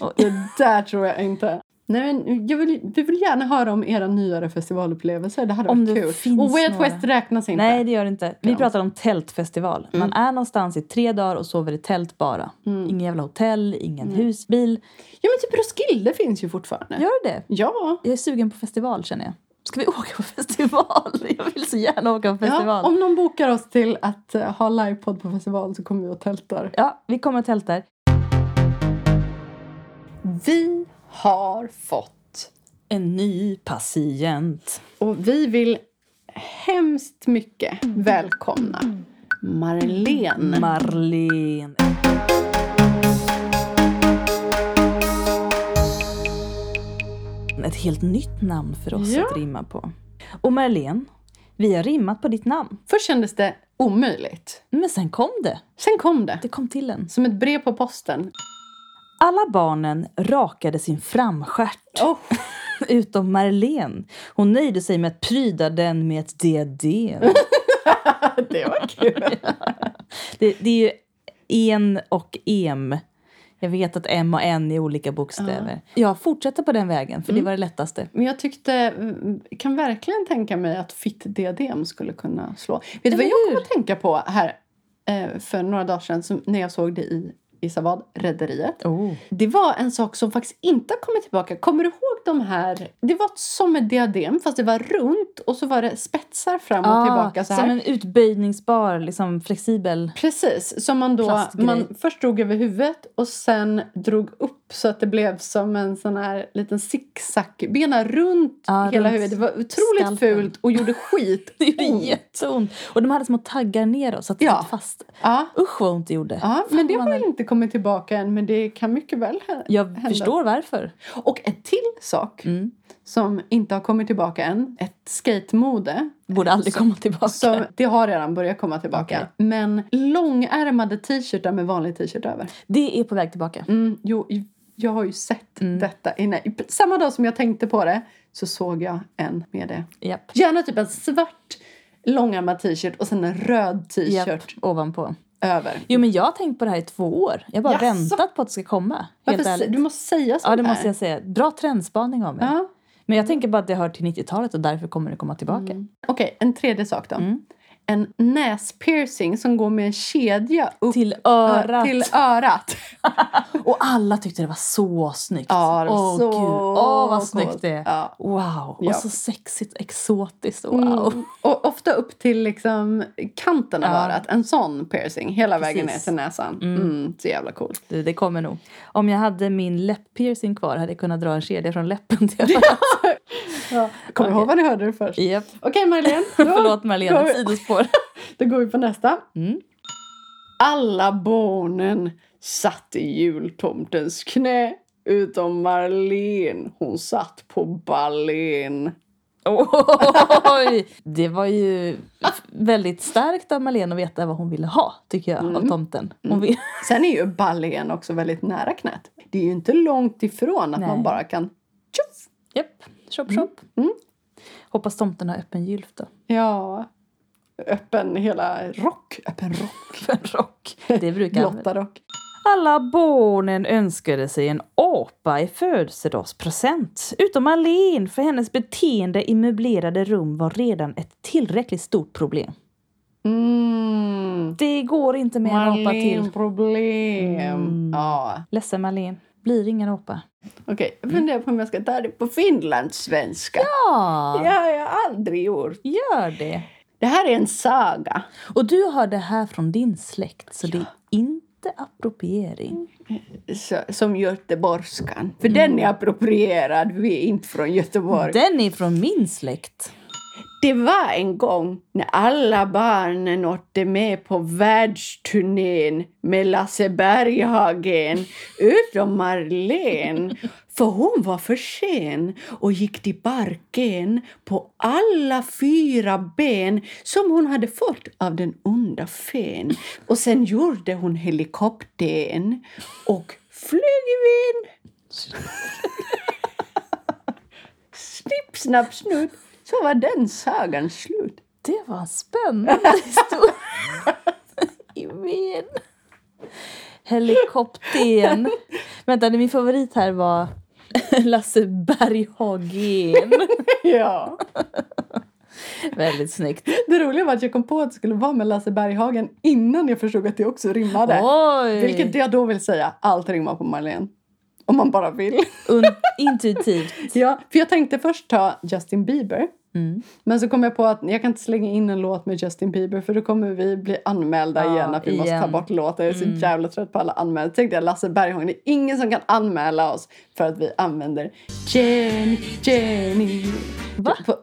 Och,
[laughs] Det där tror jag inte. Nej, men jag vill, vi vill gärna höra om era nyare festivalupplevelser. Det hade
Om
varit
det
kul.
finns
och Way Out
några.
West räknas inte.
Nej, det gör det inte. Vi
Ja.
pratar om tältfestival. Man är någonstans i tre dagar och sover i tält bara.
Mm.
Ingen jävla hotell, ingen husbil.
Ja, men typ Roskilde finns ju fortfarande.
Gör det?
Ja.
Jag är sugen på festival känner jag. Ska vi [laughs] åka på festival? Jag vill så gärna åka på festival.
ja. Om någon bokar oss till att eh, ha livepodd på festival så kommer vi och tältar.
Ja, vi kommer och tältar.
Vi har fått
En ny patient.
och vi vill hemskt mycket välkomna
Mm.
Marlene.
Marlene. Ett helt nytt namn för oss
Ja.
att rimma på. Och Marlene, vi har rimmat på ditt namn.
Först kändes det omöjligt.
Men sen kom det.
Sen kom det.
Det kom till en.
Som ett brev på posten.
Alla barnen rakade sin framstjärt. [laughs]
Oh, [laughs]
Utom Marlene. Hon nöjde sig med att pryda den med ett diadem.
det var kul.
Det, det är ju en och em. Jag vet att m och n är olika bokstäver. Jag fortsätter på den vägen,
Mm.
för det var det lättaste.
Men jag tyckte, mm, kan verkligen tänka mig att fitt diadem skulle kunna slå. Vet du vad jag kom att tänka på här eh, för några dagar sedan som, när jag såg det i, i Savad, Rederiet?
Oh.
Det var en sak som faktiskt inte har kommit tillbaka. Kommer du ihåg de här? Det var som ett diadem fast det var runt och så var det spetsar fram och tillbaka så här.
Som en utböjningsbar, liksom flexibel...
Precis, som man då
Plastgrej.
man först drog över huvudet och sen drog upp så att det blev som en sån här liten zigzag. Bena runt
Ja,
hela
runt
huvudet. Det var otroligt
skalpen.
fult och gjorde skit.
[laughs] Det gjorde jätteont. Och de hade små taggar neråt så att det
Ja.
satt fast.
ja,
Usch vad ont det gjorde.
ja, men det
Fan,
har
man-
väl inte kommit tillbaka än men det kan mycket väl hä-
Jag
hända.
förstår varför.
Och en till sak
Mm.
som inte har kommit tillbaka än. Ett skatemode.
Borde aldrig komma tillbaka.
Som, det har redan börjat komma tillbaka. Men långärmade t-shirtar med vanlig t-shirt över.
Det är på väg tillbaka.
Mm, jo, jag har ju sett
Mm.
detta. Innan. Samma dag som jag tänkte på det så såg jag en med det.
Japp.
Gärna typ en svart långärmad t-shirt och sen en röd t-shirt
Japp. Ovanpå.
över.
Jo men jag har tänkt på det här i två år. Jag har bara
Jaså?
väntat på att det ska komma. Helt
Varför, sä-
ärligt.
du måste säga sånt
Ja det
här.
måste jag säga. Bra trendspaning av mig.
Ja.
Men jag tänker bara att det hör till 90-talet och därför kommer det komma tillbaka.
Okej, en tredje sak då.
Mm.
En näspiercing som går med en kedja upp
Till örat.
till örat.
Och alla tyckte det var så snyggt.
Ja, det var
Åh,
så
gud. Åh, vad
coolt.
snyggt det är.
Ja.
Wow,
Ja.
och så sexigt, exotiskt. Wow.
Mm. Och ofta upp till liksom kanten av
Ja.
örat. En sån piercing hela vägen ner
Precis.
till näsan. Mm.
Mm.
så jävla coolt.
Du, det kommer nog. Om jag hade min läpppiercing kvar hade jag kunnat dra en kedja från
[laughs]
läppen till örat.
Kommer du
Okej.
ihåg vad ni hörde det först?
Japp.
Okej
[laughs]
Marlene, då,
Förlåt Marlene, ett sidospår.
då går vi på nästa.
Mm.
Alla barnen satt i jultomtens knä utom Marlene. Hon satt på ballen.
Oj! Det var ju f- väldigt starkt av Marlene att veta vad hon ville ha, tycker jag,
Mm.
av tomten. Hon vill... [laughs]
Sen är ju ballen också väldigt nära knät. Det är ju inte långt ifrån att
Nej.
man bara kan tjoff!
Japp, chop chop.
Mm.
Hoppas tomten har öppen gylf då. [laughs]
Ja, öppen hela rock. Öppen rock.
För rock. Det brukar han väl.
Blotta rock.
Alla barnen önskade sig en apa i födelsedagspresent. Utom Marlene, för hennes beteende i möblerade rum var redan ett tillräckligt stort problem.
Mm.
Det går inte med en apa till.
problem.
Mm.
Ja.
Ledsen Marlene, blir ingen apa.
Okej, jag funderar på om jag ska ta det på finlandssvenska.
Ja,
Det har jag aldrig gjort.
gör det.
Det här är en saga.
Och du har det här från din släkt, så det är inte appropriering.
så- Som göteborgskan. För den är approprierad, vi är inte från Göteborg.
Den är från min släkt.
Det var en gång när alla barnen åkte med på världsturnén med Lasse Berghagen, utom Marlene. För hon var för sen och gick till parken på alla fyra ben som hon hade fått av den onda fen. Och sen gjorde hon helikoptern och flög iväg. Snipp, snapp, snut. Så var den sagan slut.
Det var en spännande [laughs] historia. I min. Helikoptern. Vänta, min favorit här var [laughs] Lasse Berghagen.
Ja.
Väldigt snyggt.
Det roliga var att jag kom på att det skulle vara med Lasse Berghagen innan jag förstod att det också rimmade.
Oj!
Vilket jag då vill säga, allt rimmar på Marlene.
[laughs]
Om man bara vill.
Un- intuitivt.
Ja, för jag tänkte först ta Justin Bieber.
Mm.
Men så kom jag på att jag kan inte slänga in en låt med Justin Bieber för då kommer vi bli anmälda
Ja,
igen att vi måste
igen. Mm.
ta bort låtar. Jag är så jävla trött på alla anmälda. Tänkte jag Lasse Berghagen, det är ingen som kan anmäla oss för att vi använder Jenny, Jenny.
Va?
På,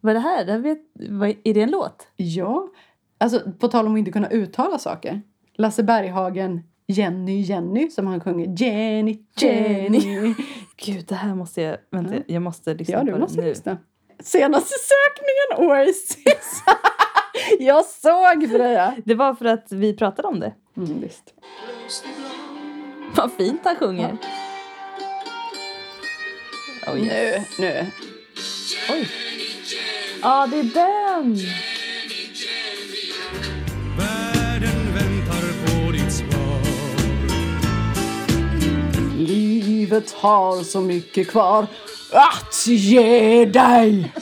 Vad är det här? Det här vet, vad, är det en låt?
ja, alltså på tal om att inte kunna uttala saker. Lasse Berghagen, Jenny, Jenny som han sjunger Jenny, Jenny.
Gud, det här måste jag... Vänta,
Ja.
jag måste lyssna
Ja,
på
du
den
måste
nu.
lyssna. Senaste sökningen, Oasis. [laughs] jag såg Freja.
Det var för att vi pratade om det.
Mm, visst.
[laughs] Vad fint han sjunger. Oh, Oj.
Nu, nu.
Oj. Ja, det är den!
Världen väntar på ditt svar
Livet har så mycket kvar att ge dig.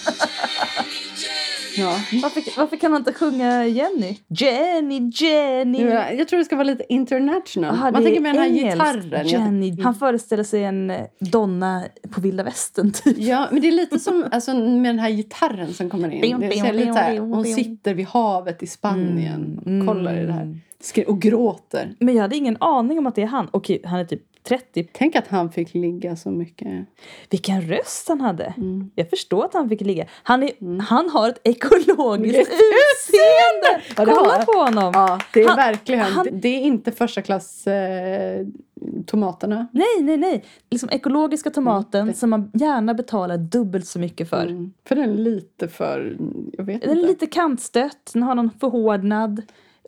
ja.
Varför, varför kan han inte sjunga Jenny? Jenny, Jenny!
Jag tror det ska vara lite international.
Aha,
Man
det
tänker
är
med den här
engelskt.
gitarren. Jag-
Jenny. Han föreställer sig en eh, donna på vilda västern, typ.
Ja, men det är lite
[laughs]
som alltså, med den här gitarren som kommer in.
Bim,
Det är så
bim,
lite så här,
bim, bim,
hon
bim.
sitter vid havet i Spanien
Mm,
och kollar i det här.
mm.
Skri- Och gråter.
Men jag hade ingen aning om att det är han. Okej, han är typ 30.
Tänk att han fick ligga så mycket.
Vilken röst han hade!
Mm.
Jag förstår att han fick ligga. Han, är, han
[laughs]
har ett ekologiskt
Vilket
utseende!
Ja, det har
Kolla
han.
på honom!
Ja, det är
Han-
verkligen.
han-
det- Det är inte första klass eh, tomaterna.
Nej, nej, nej. Liksom ekologiska tomaten
Mm, det-
som man gärna betalar dubbelt så mycket för.
Mm. För den är lite för... Jag vet
Den är
inte.
lite kantstött, den har någon förhårdnad,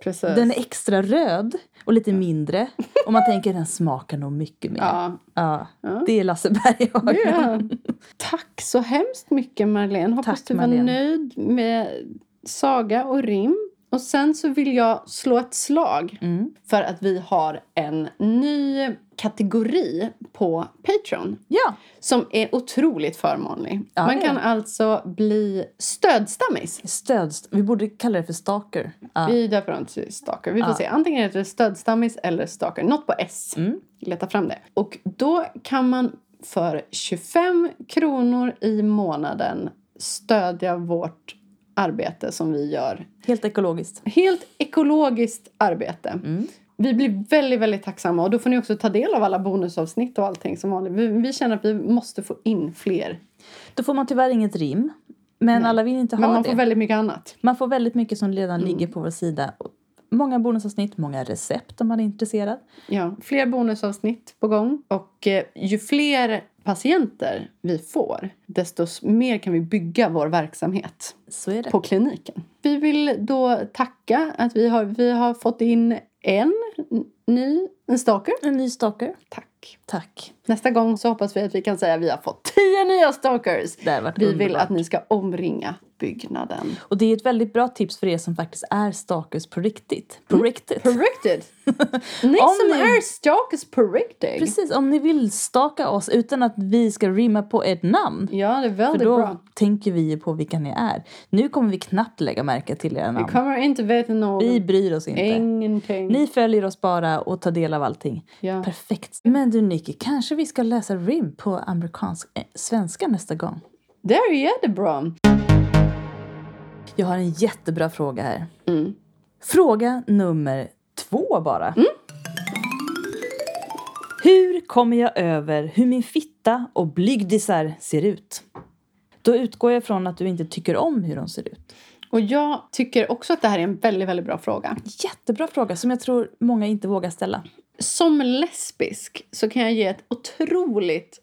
Precis.
den är extra röd och lite mindre. Och man tänker den smakar nog mycket mer. Ja.
Ja, Ja.
Det är Lasse Berghagen.
det är han. Tack så hemskt mycket, Marlene. Hoppas
Tack,
du var
Marlene.
nöjd med saga och rim. Och sen så vill jag slå ett slag
Mm.
för att vi har en ny kategori på Patreon.
Ja,
som är otroligt förmånlig.
Ja,
Man
det är
kan
det.
alltså bli stödstammis.
stöds. Vi borde kalla det för stalker. Ja.
Vi döper dem till stalker. Vi får
Ja.
se. Antingen heter det stödstammis eller stalker. Något på S.
Mm.
Leta fram det. Och då kan man för 25 kronor i månaden stödja vårt arbete som vi gör.
Helt ekologiskt.
Helt ekologiskt arbete.
Mm.
Vi blir väldigt, väldigt tacksamma. Och då får ni också ta del av alla bonusavsnitt och allting som vanligt. Vi, vi känner att vi måste få in fler.
Då får man tyvärr inget rim. Men alla vill inte ha
Men man
det.
får väldigt mycket annat.
Man får väldigt mycket som redan
Mm.
ligger på vår sida. Många bonusavsnitt, många recept om man är intresserad.
Ja, fler bonusavsnitt på gång. Och eh, ju fler patienter vi får, desto s- mer kan vi bygga vår verksamhet
Så är det.
på kliniken. Vi vill då tacka att vi har, vi har fått in en n- ny, en stalker.
En ny stalker.
Tack.
Tack.
Nästa gång så hoppas vi att vi kan säga att vi har fått tio nya stalkers.
Det har varit
Vi vill
underbart.
att ni ska omringa
[laughs]
byggnaden.
Och det är ett väldigt bra tips för er som faktiskt är stalkers på riktigt.
Mm.
På riktigt.
Corrected! Ni som
ni-
är stalkers corrected.
Precis, om ni vill staka oss utan att vi ska rimma på ett namn.
Ja, det är
För
väldigt
då
bra.
tänker vi ju på vilka ni är. Nu kommer vi knappt lägga märke till era
Vi
namn.
kommer inte veta något.
Vi bryr oss inte.
Ingenting.
Ni följer oss bara och tar del av allting.
Ja.
Perfekt. Men du Nicky, kanske vi ska läsa rim på amerikansk eh, svenska nästa gång?
Det är jättebra.
Jag har en jättebra fråga här.
Mm.
Fråga nummer två bara. Hur kommer jag över hur min fitta och blygdisar ser ut? Då utgår jag från att du inte tycker om hur de ser ut.
Och jag tycker också att det här är en väldigt, väldigt bra fråga.
Jättebra fråga som jag tror många inte vågar ställa.
Som lesbisk så kan jag ge ett otroligt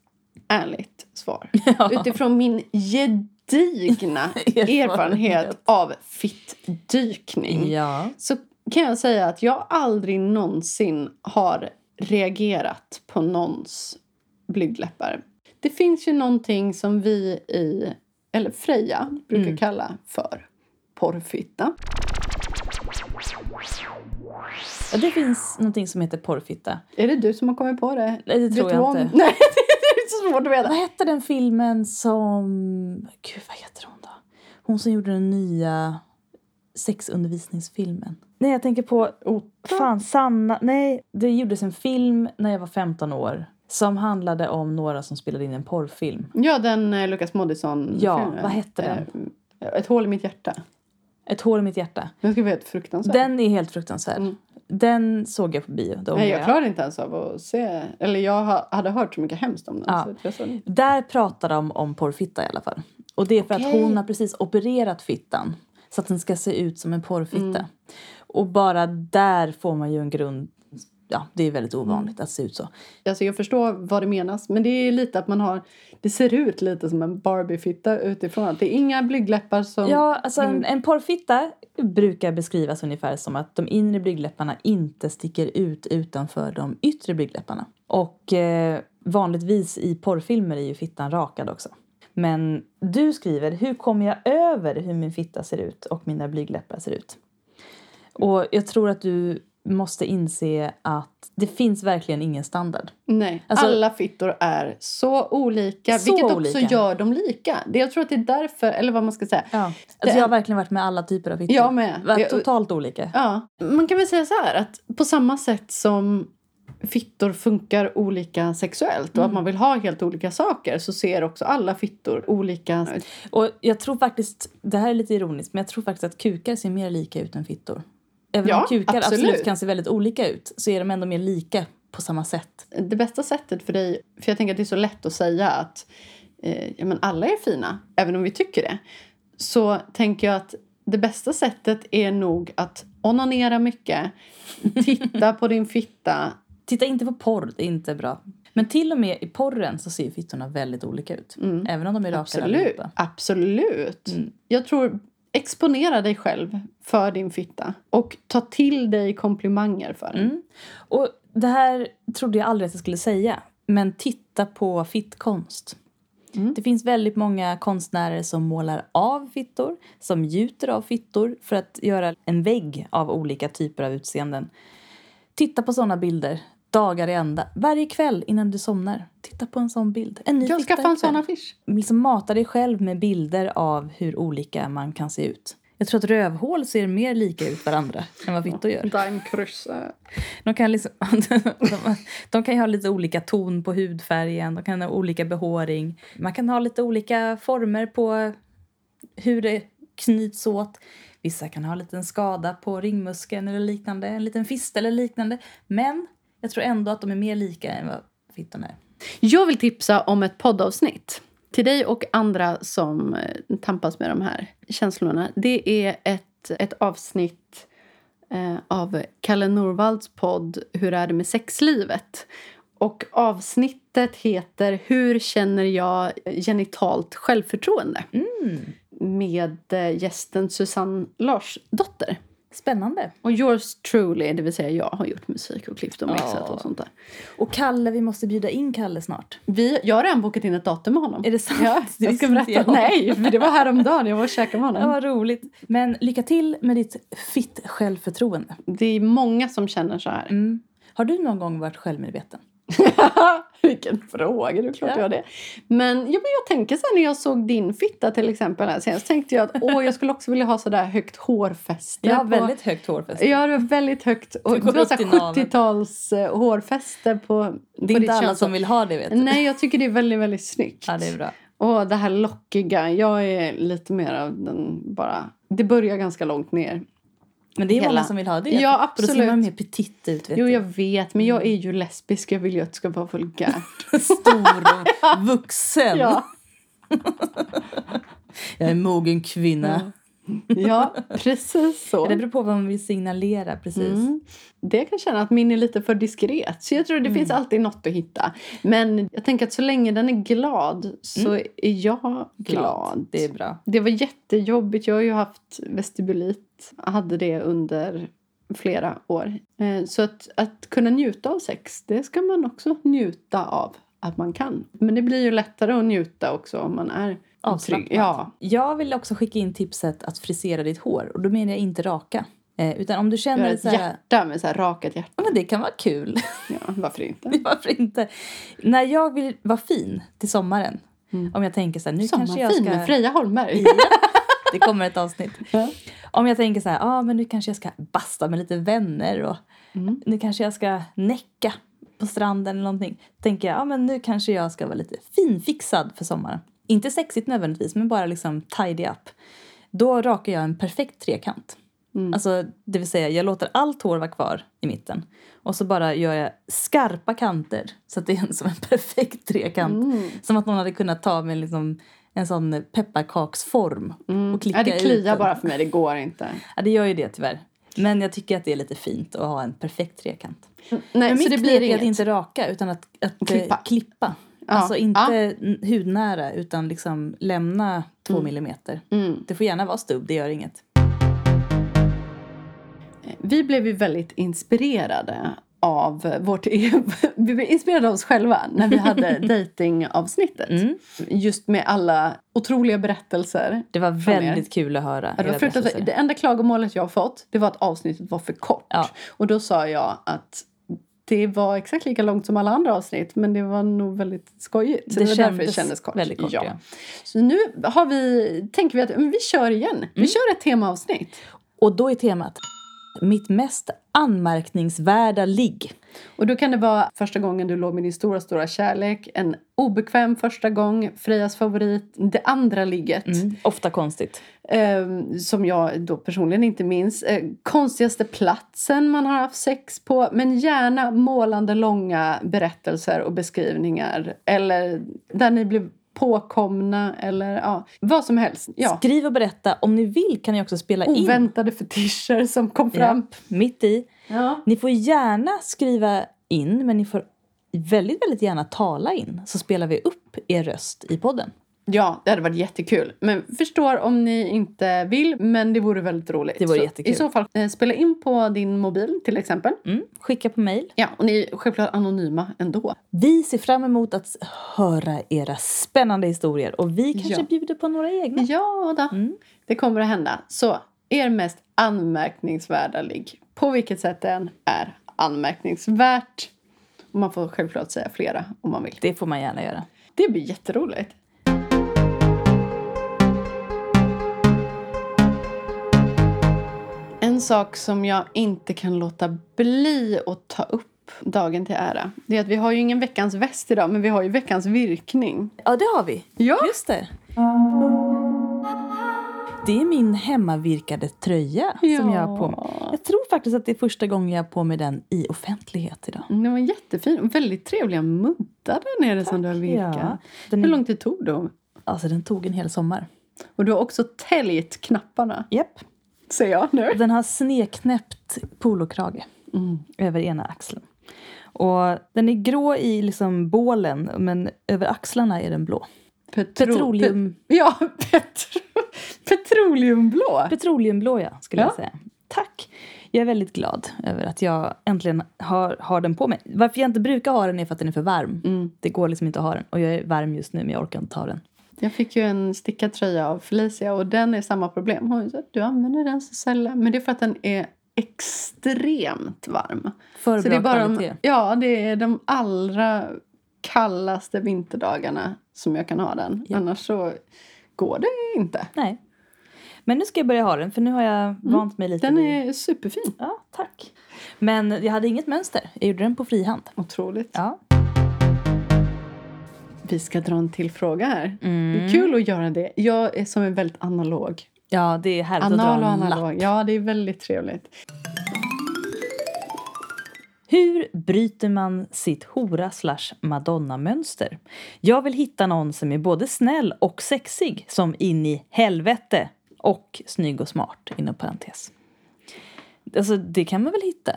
ärligt
[laughs]
svar. Utifrån min gedigna erfarenhet
Erfarenhet.
av fittdykning.
Ja.
Så kan jag säga att jag aldrig någonsin har reagerat på någons blygdläppar. Det finns ju någonting som vi i, eller Freja, brukar
Mm.
kalla för porrfitta.
ja. Det finns någonting som heter porrfitta.
Är det du som har kommit på det?
Nej, det tror
Vet du
jag
om- [laughs]
inte.
Nej, det är så svårt att veta.
Vad hette den filmen som... Gud, vad heter hon då? Hon som gjorde den nya sexundervisningsfilmen. Nej, oh, jag tänker på... Fan, Sanna... Nej, det gjordes en film när jag var 15 år. Som handlade om några som spelade in en porrfilm.
Ja, den eh, Lukas Moodysson-filmen.
Ja, vad hette den?
Eh, Ett hål i mitt hjärta.
Ett hål i mitt hjärta.
Den skulle vara helt fruktansvärd.
Den är helt fruktansvärd. Den såg Mm. jag på bio. det ångrar
Nej, jag klarade inte ens av att se. Eller jag ha, hade hört så mycket hemskt om den.
Ja.
Så att jag såg den.
Där pratar de om porrfitta i alla fall. Och det är för att
Okej.
hon har precis opererat fittan. Så att den ska se ut som en porrfitta. Och bara där får man ju en grund. Ja, det är väldigt ovanligt att se ut så.
Alltså jag förstår vad det menas. Men det är lite att man har... Det ser ut lite som en Barbie-fitta utifrån. Det är inga blygdläppar som...
Ja, alltså en, en porrfitta brukar beskrivas ungefär som att de inre blygdläpparna inte sticker ut utanför de yttre blygdläpparna. Och eh, vanligtvis i porrfilmer är ju fittan rakad också. Men du skriver, hur kommer jag över hur min fitta ser ut och mina blygdläppar ser ut? Och jag tror att du måste inse att det finns verkligen ingen standard.
Nej,
Alltså-
alla fittor är så olika.
Så
vilket också
olika.
gör dem lika. Det, jag tror att det är därför, eller vad man ska säga.
Ja.
Det
Alltså, jag
är-
har verkligen varit med alla typer av fittor.
Jag med.
Varit
Jag-
totalt olika.
Ja, man kan väl säga så här att på samma sätt som fittor funkar olika sexuellt och att man vill ha helt olika saker så ser också alla fittor olika ut.
Och jag tror faktiskt, det här är lite ironiskt, men jag tror faktiskt att kukar ser mer lika ut än fittor. Även
Ja,
om kukar absolut.
absolut.
kan se väldigt olika ut så är de ändå mer lika på samma sätt.
Det bästa sättet för dig, för jag tänker att det är så lätt att säga att eh, ja, men alla är fina, även om vi tycker det. Så tänker jag att det bästa sättet är nog att onanera mycket, titta på din fitta.
Titta inte på porr, det är inte bra. Men till och med i porren så ser ju fittorna väldigt olika ut. Även om de är rakade
Mm. Absolut.
allihopa.
Absolut. Jag tror exponera dig själv för din fitta och ta till dig komplimanger för den.
Och det här trodde jag aldrig att jag skulle säga, men titta på fittkonst.
Mm.
Det finns väldigt många konstnärer som målar av fittor, som gjuter av fittor för att göra en vägg av olika typer av utseenden. Titta på sådana bilder dagar i ända. Varje kväll innan du somnar, titta på en sån bild. En ny
Jag
fitta
skaffade en
ikväll
sån affisch.
liksom mata dig själv med bilder av hur olika man kan se ut. Jag tror att rövhål ser mer lika ut varandra än vad fittor gör. De kan, liksom, [laughs] de, de kan ju ha lite olika ton på hudfärgen, de kan ha olika behåring. Man kan ha lite olika former på hur det knyts åt. Vissa kan ha en liten skada på ringmuskeln eller liknande, en liten fist eller liknande. Men jag tror ändå att de är mer lika än vad fittorna är.
Jag vill tipsa om ett poddavsnitt till dig och andra som eh, tampas med de här känslorna. Det är ett, ett avsnitt eh, av Kalle Norvalds podd Hur är det med sexlivet? Och avsnittet heter Hur känner jag genitalt självförtroende? Med eh, gästen Susanne Larsdotter.
Spännande!
Och yours truly, det vill säga jag, har gjort musik och klippt och mixat och sånt där.
Och Kalle, vi måste bjuda in Kalle snart.
Vi, jag har redan bokat in ett datum med honom.
Är det sant?
Ja,
Det
jag ska berätta.
visste inte jag.
Nej, för det var häromdagen. Jag var och käkade med
Ja,
honom.
vad roligt. Men lycka till med ditt fitt självförtroende.
Det är många som känner så
[laughs]
här.
Mm. Har du någon gång varit självmedveten?
Vilken fråga, det är klart
Ja.
jag har det. Men, ja, men jag tänker så här när jag såg din fitta till exempel här senast. tänkte jag att åh, jag skulle också vilja ha så där högt hårfäste.
Jag har
på-
väldigt högt hårfäste.
Ja, det var väldigt högt. Och,
Det
det
går
var så
upp till
här
naveln.
70-tals eh, hårfäste på, på
det är
ditt
inte alla
könshår.
som vill ha det, vet du.
Nej, jag tycker det är väldigt, väldigt snyggt.
Ja, det är bra.
Och det här lockiga. Jag är lite mer av den bara... Det börjar ganska långt ner.
Men det är
Hela-
många som vill ha det.
Ja,
För Då ser man
absolut.
mer petit ut, vet
Jo,
du.
jag vet. Men
Mm.
jag är ju lesbisk. Jag vill ju att det ska vara
[laughs]
vulgärt.
[laughs] Stor och vuxen.
ja.
Jag är en mogen kvinna.
ja, precis så.
Mm. Det beror på vad man vill signalera, precis.
Mm. Det jag kan känna att min är lite för diskret. Så jag tror det
Mm.
finns alltid något att hitta. Men jag tänker att så länge den är glad så är jag glad.
Mm. Det är bra.
Det var jättejobbigt. Jag har ju haft vestibulit. Jag hade det under flera år. Eh, Så att, att kunna njuta av sex, det ska man också njuta av att man kan. Men det blir ju lättare att njuta också om man är
Avslappnad.
Ja.
Jag vill också skicka in tipset att frisera ditt hår. Och då menar jag inte raka. Eh, utan om du
Göra
känner
ett
så här,
hjärta med så här rakat hjärta.
ja, men det kan vara kul.
Ja, varför
[laughs]
inte?
Varför inte? När jag vill vara fin till sommaren. Om jag tänker så här, nu kanske jag
Mm. Sommarfin
ska...
med Freja Holmberg.
[laughs] Det kommer ett avsnitt. Om jag tänker så
Mm.
här, ah, men nu kanske jag ska basta med lite vänner och nu kanske jag ska näcka. på stranden eller någonting tänker jag, ja men nu kanske jag ska vara lite finfixad för sommaren. Inte sexigt nödvändigtvis, men bara liksom tidy up. Då rakar jag en perfekt trekant.
Mm.
Alltså, det vill säga, jag låter allt hår vara kvar i mitten och så bara gör jag skarpa kanter så att det är en- som en perfekt trekant.
Mm.
Som att någon hade kunnat ta med liksom en sån pepparkaksform och klicka
Mm. Ja, det
ut
kliar
den.
bara för mig, det går inte.
Ja, det gör ju det tyvärr. Men jag tycker att det är lite fint att ha en perfekt trekant.
Nej,
Men
så
mitt
det
knep
blir
är
inget.
att inte raka utan att, att klippa.
Klippa.
klippa.
Ja.
Alltså inte n- hudnära utan liksom lämna två
Mm.
millimeter. Det får gärna vara stubb, det gör inget.
Vi blev ju väldigt inspirerade av vårt e- [laughs] vi blev inspirerade av oss själva när vi
[laughs]
hade datingavsnittet.
Mm.
Just med alla otroliga berättelser.
Det var
Från er.
väldigt kul att höra.
Ja, Det, var
era berättelser.
fruktansvärt. det enda klagomålet jag har fått det var att avsnittet var för kort.
Ja.
Och då sa jag att det var exakt lika långt som alla andra avsnitt men det var nog väldigt skojigt. Så
Det
det, var därför det
kändes
kändes kort.
väldigt kort, ja.
Så nu har vi, tänker vi att men vi kör igen.
Mm.
Vi kör ett temaavsnitt.
Och då är temat mitt mest anmärkningsvärda ligg.
Och då kan det vara första gången du låg med din stora, stora kärlek, en obekväm första gång, Frejas favorit, det andra ligget.
Ofta konstigt.
Eh, som jag då personligen inte minns. Eh, konstigaste platsen man har haft sex på. Men gärna målande långa berättelser och beskrivningar. Eller där ni blev påkomna eller ja, vad som helst. Ja.
Skriv och berätta. Om ni vill kan ni också spela in
Oväntade fetischer som kom fram.
mitt i.
Ja.
Ni får gärna skriva in, men ni får väldigt, väldigt gärna tala in. Så spelar vi upp er röst i podden.
Ja, det hade varit jättekul. Men förstår om ni inte vill, men det vore väldigt roligt.
Det vore
Så
jättekul.
I så fall, eh, spela in på din mobil till exempel.
Mm. Skicka på mejl.
Ja, och ni är självklart anonyma ändå.
Vi ser fram emot att s- höra era spännande historier och vi kanske
Ja.
bjuder på några egna.
Ja då.
Mm.
det kommer att hända. Så, er mest anmärkningsvärda ligg. På vilket sätt den är anmärkningsvärt. Och man får självklart säga flera om man vill.
Det får man gärna göra.
Det blir jätteroligt. En sak som jag inte kan låta bli att ta upp dagen till ära. Det är att vi har ju ingen veckans väst idag, men vi har ju veckans virkning.
Ja, det har vi.
Ja!
Just det. Det är min hemmavirkade tröja som jag har på mig. Jag tror faktiskt att det är första gången jag har på mig den i offentlighet idag.
Den var jättefin och väldigt trevliga muddar där nere som du har virkat.
Ja.
Hur
Den,
lång tid tog de?
alltså, den tog en hel sommar.
Och du har också täljt knapparna,
Japp.
ser jag nu.
Den har sneknäppt polokrage
Mm.
över ena axeln. Och den är grå i liksom bålen, men över axlarna är den blå.
Petro-
Petroleum,
Pe- ja, [laughs] petro- petroleumblå.
petroleumblå, ja, skulle jag
Ja.
säga. Tack! Jag är väldigt glad över att jag äntligen har, har den på mig. Varför jag inte brukar ha den är för att den är för varm. Det går liksom inte att ha den. Och jag är varm just nu, men jag orkar inte ta den.
Jag fick ju en stickad tröja av Felicia och den är samma problem. Hon sa du använder den så sällan. Men det är för att den är extremt varm.
För
så
bra
det är bara
kvalitet.
de, ja, det är de allra kallaste vinterdagarna som jag kan ha den.
Ja.
Annars så går det inte.
Nej. Men nu ska jag börja ha den, för nu har jag vant mig lite.
Mm. Den
vid-
är superfin.
Ja, tack. Men jag hade inget mönster. Jag gjorde den på frihand.
Otroligt.
Ja.
Vi ska dra en till fråga här.
Mm.
Det är kul att göra det. Jag är som en väldigt analog.
Ja, det är härligt
Anal och
att dra en lapp.
analog. Ja, det är väldigt trevligt.
Hur bryter man sitt hora slash madonna-mönster? Jag vill hitta någon som är både snäll och sexig som in i helvete och snygg och smart, inom parentes. Alltså, det kan man väl hitta?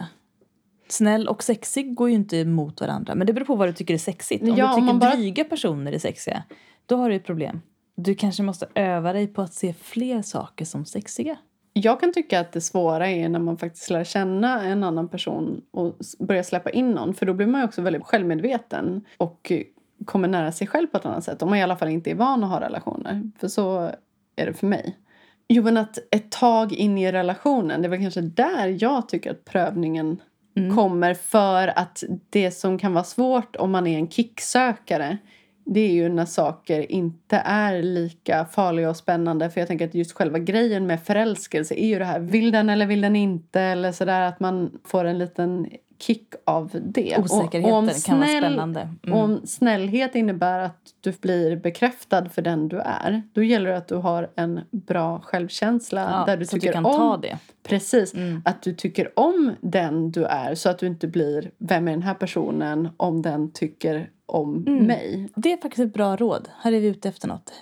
Snäll och sexig går ju inte emot varandra. Men det beror på vad du tycker är sexigt. Om
Ja, om
du tycker
man bara-
dryga personer är sexiga, då har du ett problem. Du kanske måste öva dig på att se fler saker som sexiga.
Jag kan tycka att det svåra är när man faktiskt lär känna en annan person och s- börjar släppa in någon. För då blir man ju också väldigt självmedveten och eh, kommer nära sig själv på ett annat sätt. Om man i alla fall inte är van att ha relationer. För så är det för mig. Jo, men att ett tag in i relationen, det är väl kanske där jag tycker att prövningen
Mm.
kommer. För att det som kan vara svårt om man är en kicksökare det är ju när saker inte är lika farliga och spännande. För jag tänker att just själva grejen med förälskelse är ju det här, vill den eller vill den inte? Eller sådär att man får en liten kick av det. Och-
Osäkerheten
och om
kan vara
snäll-
spännande.
och
Mm.
Om snällhet innebär att du blir bekräftad för den du är då gäller det att du har en bra självkänsla
Ja,
där du
så att
tycker
du kan
om
ta det.
Precis.
Mm.
Att du tycker om den du är så att du inte blir vem är den här personen om den tycker om
Mm.
mig.
Det är faktiskt ett bra råd. Här är vi ute efter något.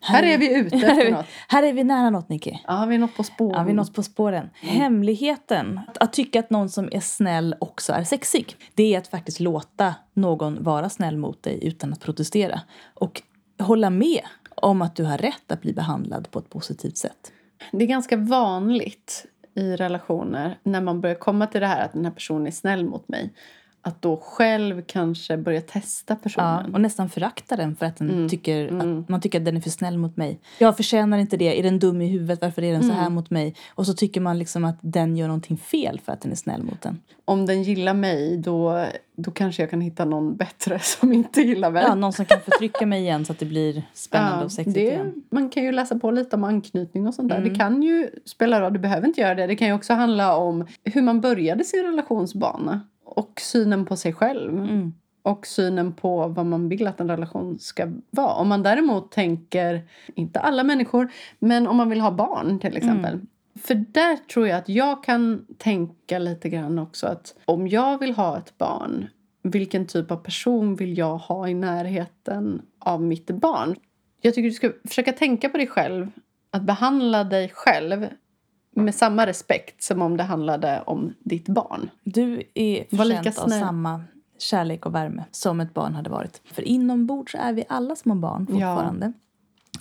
Här är vi ute
här är
efter
vi-
något. Mm.
Här är vi nära något, Nicky.
Ja, vi är något på spåren.
Ja, vi är något på spåren.
Mm.
Hemligheten. Att, att tycka att någon som är snäll också är sexig. Det är att faktiskt låta någon vara snäll mot dig utan att protestera. Och hålla med om att du har rätt att bli behandlad på ett positivt sätt.
Det är ganska vanligt i relationer när man börjar komma till det här att den här personen är snäll mot mig. Att då själv kanske börja testa
Ja,
personen.
och nästan förakta den för att, den tycker
mm.
att man tycker att den är för snäll mot mig. Jag förtjänar inte det. Är den dum i huvudet? Varför är den så
Mm.
här mot mig? Och så tycker man liksom att den gör någonting fel för att den är snäll mot den.
Om den gillar mig då, då kanske jag kan hitta någon bättre [laughs] som inte gillar mig.
Ja, någon som kan förtrycka mig igen så att det blir spännande
Ja,
och sexigt
det,
igen. Mm.
Man kan ju läsa på lite om anknytning och sånt där. Det kan ju spela roll, du behöver inte göra det. Det kan ju också handla om hur man började sin relationsbana och synen på sig själv.
Mm.
och synen på vad man vill att en relation ska vara. Om man däremot tänker, inte alla människor, men om man vill ha barn till exempel. För där tror jag att jag kan tänka lite grann också att om jag vill ha ett barn, vilken typ av person vill jag ha i närheten av mitt barn? Jag tycker du ska försöka tänka på dig själv, att behandla dig själv med samma respekt som om det handlade om ditt barn.
Du är
Var lika
förtjänt av
snäll.
samma kärlek och värme som ett barn hade varit. För inombords är vi alla små barn fortfarande.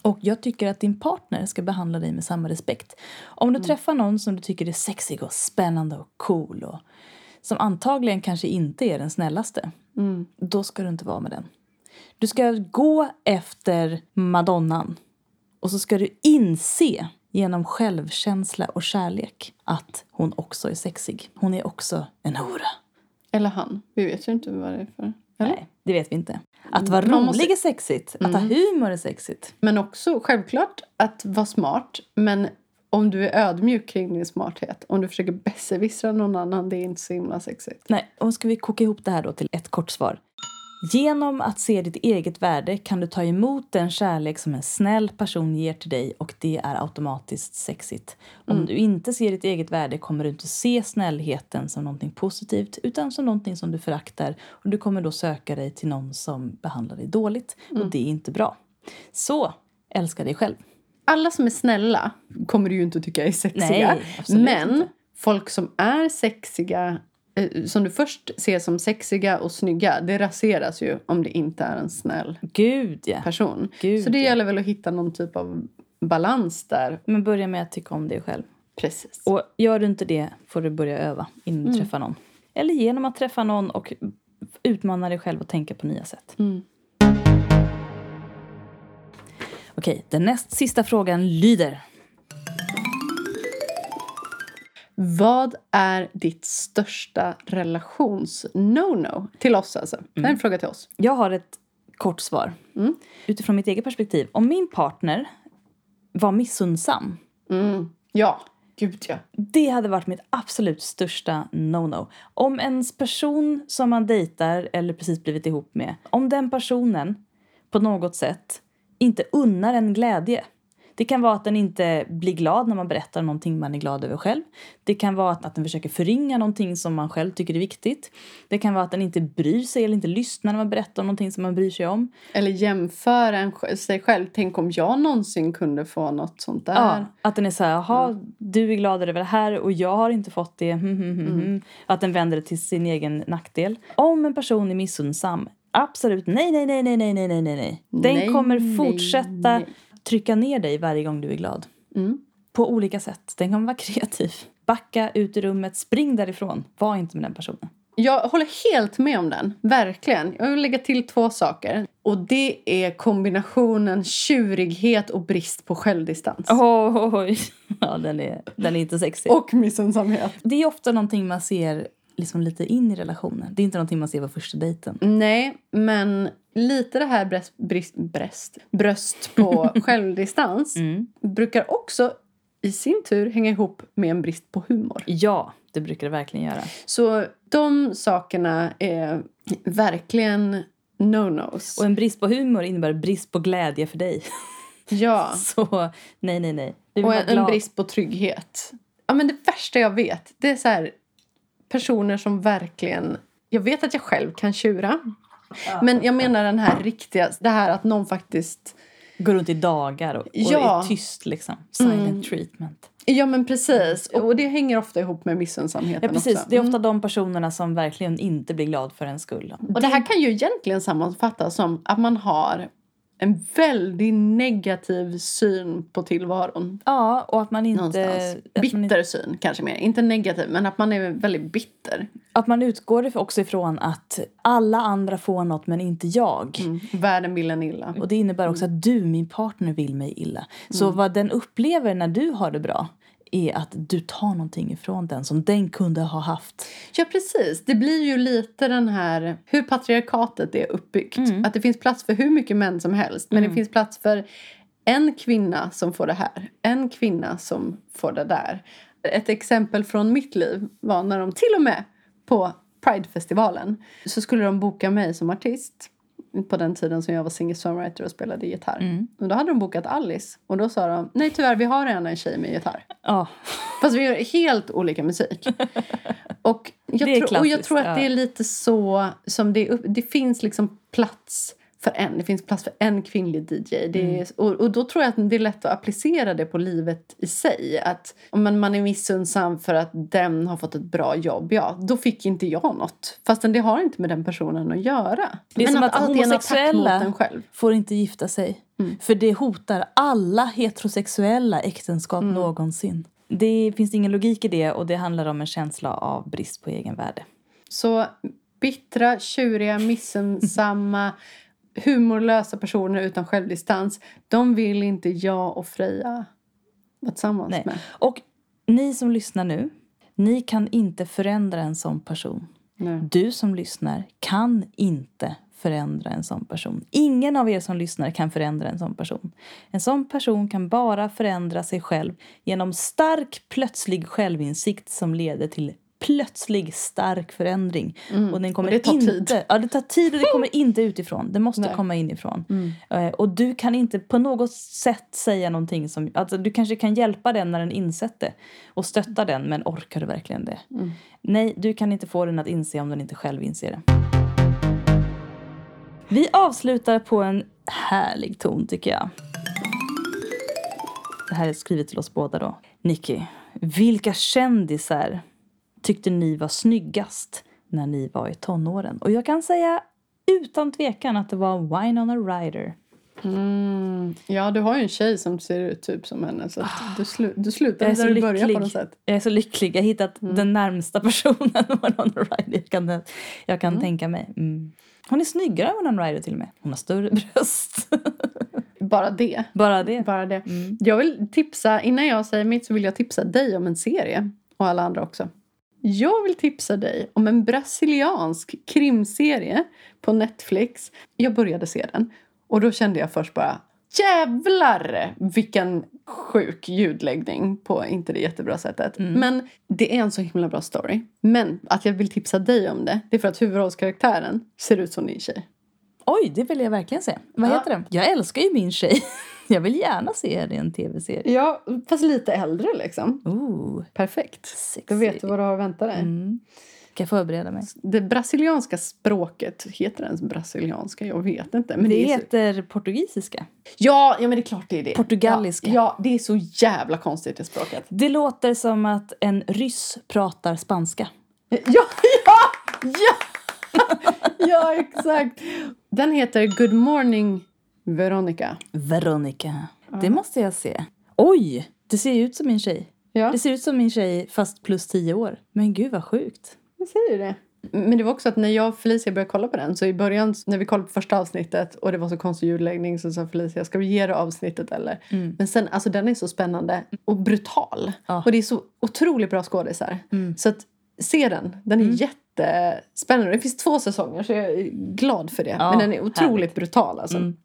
Och jag tycker att din partner ska behandla dig med samma respekt. Om du träffar någon som du tycker är sexig och spännande och cool och som antagligen kanske inte är den snällaste, då ska du inte vara med den. Du ska gå efter madonnan. Och så ska du inse genom självkänsla och kärlek att hon också är sexig. Hon är också en hora.
Eller han. Vi vet ju inte vad det är för. Eller?
Nej, det vet vi inte. Att vara
Mm. Man
rolig
måste- Mm.
är sexigt. Att ha humor är sexigt.
Men också självklart att vara smart. Men om du är ödmjuk kring din smarthet. Om du försöker besserwissra någon annan. Det är inte så himla sexigt.
Nej, och ska vi koka ihop det här då till ett kort svar. Genom att se ditt eget värde kan du ta emot den kärlek som en snäll person ger till dig och det är automatiskt sexigt. Om
Mm.
du inte ser ditt eget värde kommer du inte se snällheten som någonting positivt utan som någonting som du föraktar och du kommer då söka dig till någon som behandlar dig dåligt
Mm.
och det är inte bra. Så, älska dig själv.
Alla som är snälla kommer du ju inte tycka är sexiga.
Nej, absolut
men
inte.
folk som är sexiga. eh, Som du först ser som sexiga och snygga. Det raseras ju om det inte är en snäll
Gud ja!
person.
Gud,
så det
ja.
gäller väl att hitta någon typ av balans där.
Men börja med att tycka om dig själv.
Precis.
Och gör du inte det får du börja öva innan
Mm.
du träffar någon. Eller genom att träffa någon och utmana dig själv och tänka på nya sätt.
Mm.
Okej, den näst sista frågan lyder.
Vad är ditt största relations-no-no? Till oss alltså. Det här är en fråga till oss.
Jag har ett kort svar.
Mm.
Utifrån mitt eget perspektiv. Om min partner var missundsam
Mm. Ja. Gud, ja.
Det hade varit mitt absolut största no-no. Om en person som man dejtar eller precis blivit ihop med, om den personen på något sätt inte unnar en glädje. Det kan vara att den inte blir glad när man berättar någonting man är glad över själv. Det kan vara att, att den försöker förringa någonting som man själv tycker är viktigt. Det kan vara att den inte bryr sig eller inte lyssnar när man berättar om någonting som man bryr sig om.
Eller jämföra en, sj- sig själv. Tänk om jag någonsin kunde få något sånt där.
Ja, att den är så här, jaha,
Mm.
du är glad över det här och jag har inte fått det. hm, hm,
Mm.
hm, hm. Att den vänder det till sin egen nackdel. Om en person är missundsam, absolut nej, nej, nej, nej, nej, nej, nej, nej, nej. Den
Nej,
kommer
nej,
fortsätta
nej.
trycka ner dig varje gång du är glad.
Mm.
På olika sätt. Den kommer vara [laughs] kreativ. Backa ut ur rummet, spring därifrån. Var inte med den personen.
Jag håller helt med om den. Verkligen. Jag vill lägga till två saker. Och det är kombinationen tjurighet och brist på självdistans.
Oj, oj, oj. [laughs] Ja, den är, den är inte sexig.
Och missunnsamhet.
det är ofta någonting man ser liksom lite in i relationen. Det är inte någonting man ser på första dejten.
Nej, men lite det här bröst, brist, bröst, bröst [laughs] på självdistans brukar också i sin tur hänga ihop med en brist på humor.
Ja, det brukar det verkligen göra.
Så De sakerna är verkligen no-nos.
Och en brist på humor innebär brist på glädje för dig.
Ja.
[laughs] Så nej, nej, nej. Du vill
Och
vara
en, en
glad.
brist på trygghet. Ja, men det värsta jag vet det är så här, personer som verkligen... Jag vet att jag själv kan tjura. Men jag menar den här riktiga, det här att någon faktiskt...
Går runt i dagar och, och
Ja.
är tyst liksom. Silent treatment.
Ja men precis, och det hänger ofta ihop med missunnsamheten
Ja, precis.
också.
Det är ofta de personerna som verkligen inte blir glad för en skull.
Och det här kan ju egentligen sammanfattas som att man har en väldigt negativ syn på tillvaron.
Ja, och att man inte...
Någonstans.
Att man, inte-
Bitter syn kanske mer, inte negativ men att man är väldigt bitter.
att man utgår if- också ifrån att alla andra får något men inte jag.
Mm. Världen vill en illa.
Och det innebär också att du, min partner, vill mig illa. Så vad den upplever när du har det bra är att du tar någonting ifrån den som den kunde ha haft.
Ja, precis. Det blir ju lite den här hur patriarkatet är uppbyggt. Att det finns plats för hur mycket män som helst. Men det finns plats för en kvinna som får det här. En kvinna som får det där. Ett exempel från mitt liv var när de till och med på Pridefestivalen så skulle de boka mig som artist på den tiden som jag var singer-songwriter och spelade gitarr. Och då hade de bokat Alice och då sa de nej tyvärr vi har redan en tjej med gitarr.
Ja,
Fast vi gör helt olika
[laughs]
musik. Och jag,
Det är
tror, och jag
klassiskt,
tror att
ja.
det är lite så som det är upp, Det finns liksom plats för en. Det finns plats för en kvinnlig DJ. Det är,
Mm.
och, och då tror jag att det är lätt att applicera det på livet i sig. Att om man, man är missunnsam för att den har fått ett bra jobb, ja, då fick inte jag något. Fastän det har inte med den personen att göra.
Det är
Men
som att
allt är en attack mot
homosexuella-
en själv.
får inte gifta sig. För det hotar alla heterosexuella äktenskap någonsin. Det finns ingen logik i det och det handlar om en känsla av brist på egenvärde.
Så bittra, tjuriga,
[laughs]
missunnsamma, humorlösa personer utan självdistans. De vill inte jag och Freja vara tillsammans
Nej.
med.
Och ni som lyssnar nu, ni kan inte förändra en sån person.
Nej.
Du som lyssnar kan inte förändra en sån person. Ingen av er som lyssnar kan förändra en sån person. En sån person kan bara förändra sig själv genom stark plötslig självinsikt som leder till plötslig stark förändring. Och, den
Mm.
kommer
Och det tar
inte,
tid.
Ja, det tar tid och det
[laughs]
kommer inte utifrån. Det måste
Nej. Mm.
komma inifrån. Eh, Och du kan inte på något sätt säga någonting som... Alltså, du kanske kan hjälpa den när den insett det och stötta den, men orkar du verkligen det? Nej, du kan inte få den att inse om den inte själv inser det. Vi avslutar på en härlig ton, tycker jag. Det här är skrivet till oss båda då. Nicky, vilka kändisar tyckte ni var snyggast när ni var i tonåren? Och jag kan säga utan tvekan att det var Winona Ryder.
Mm. Ja, du har ju en tjej som ser ut typ som henne. Så att du, slu- du slutar
Ah. Jag är så
där du börjar på något
lycklig.
sätt.
Jag är så lycklig. Jag har hittat
Mm.
den närmsta personen [laughs] Winona Ryder jag kan, jag kan tänka mig. Mm. Hon är snyggare än Winona Ryder till och med. Hon har större [laughs] bröst. Mm.
Bara det.
Bara det.
Bara det. Jag vill tipsa, innan jag säger mitt så vill jag tipsa dig om en serie. Och alla andra också. Jag vill tipsa dig om en brasiliansk krimserie på Netflix. Jag började se den och då kände jag först bara Jävlar vilken sjuk ljudläggning på inte det jättebra sättet. Men det är en så himla bra story. Men att jag vill tipsa dig om det, det är för att huvudrollskaraktären ser ut som din tjej.
Oj, det vill jag verkligen se. Vad
Ja.
heter den? Jag älskar ju min tjej. [laughs] Jag vill gärna se henne i en tv-serie.
Ja, fast lite äldre liksom.
Ooh,
Perfekt.
sexy.
Då vet du vad du har att vänta dig.
Mm. Ska jag förbereda mig?
Det brasilianska språket, heter det ens brasilianska? Jag vet inte. Men
det,
det är så...
heter portugisiska.
ja, ja, men det är klart det är det.
Portugaliska.
Ja, ja, det är så jävla konstigt det språket.
Det låter som att en ryss pratar spanska.
Ja, ja, ja! Ja, exakt. Den heter Good morning Veronica.
Veronica. Det måste jag se. Oj! Det ser ju ut som min tjej.
Ja,
Det ser ut som min tjej fast plus tio år. Men gud vad sjukt.
jag säger det. Men det var också att när jag och Felicia började kolla på den så i början när vi kollade på första avsnittet och det var så konstig ljudläggning så sa Felicia ska vi ge det avsnittet eller? Men sen alltså den är så spännande och brutal.
Mm. Ja. Mm.
Och det är så otroligt bra skådisar. Så att se den. Den är jättespännande. Det finns två säsonger så jag är glad för det.
Ja,
Men den är otroligt
härligt.
brutal alltså.
Mm.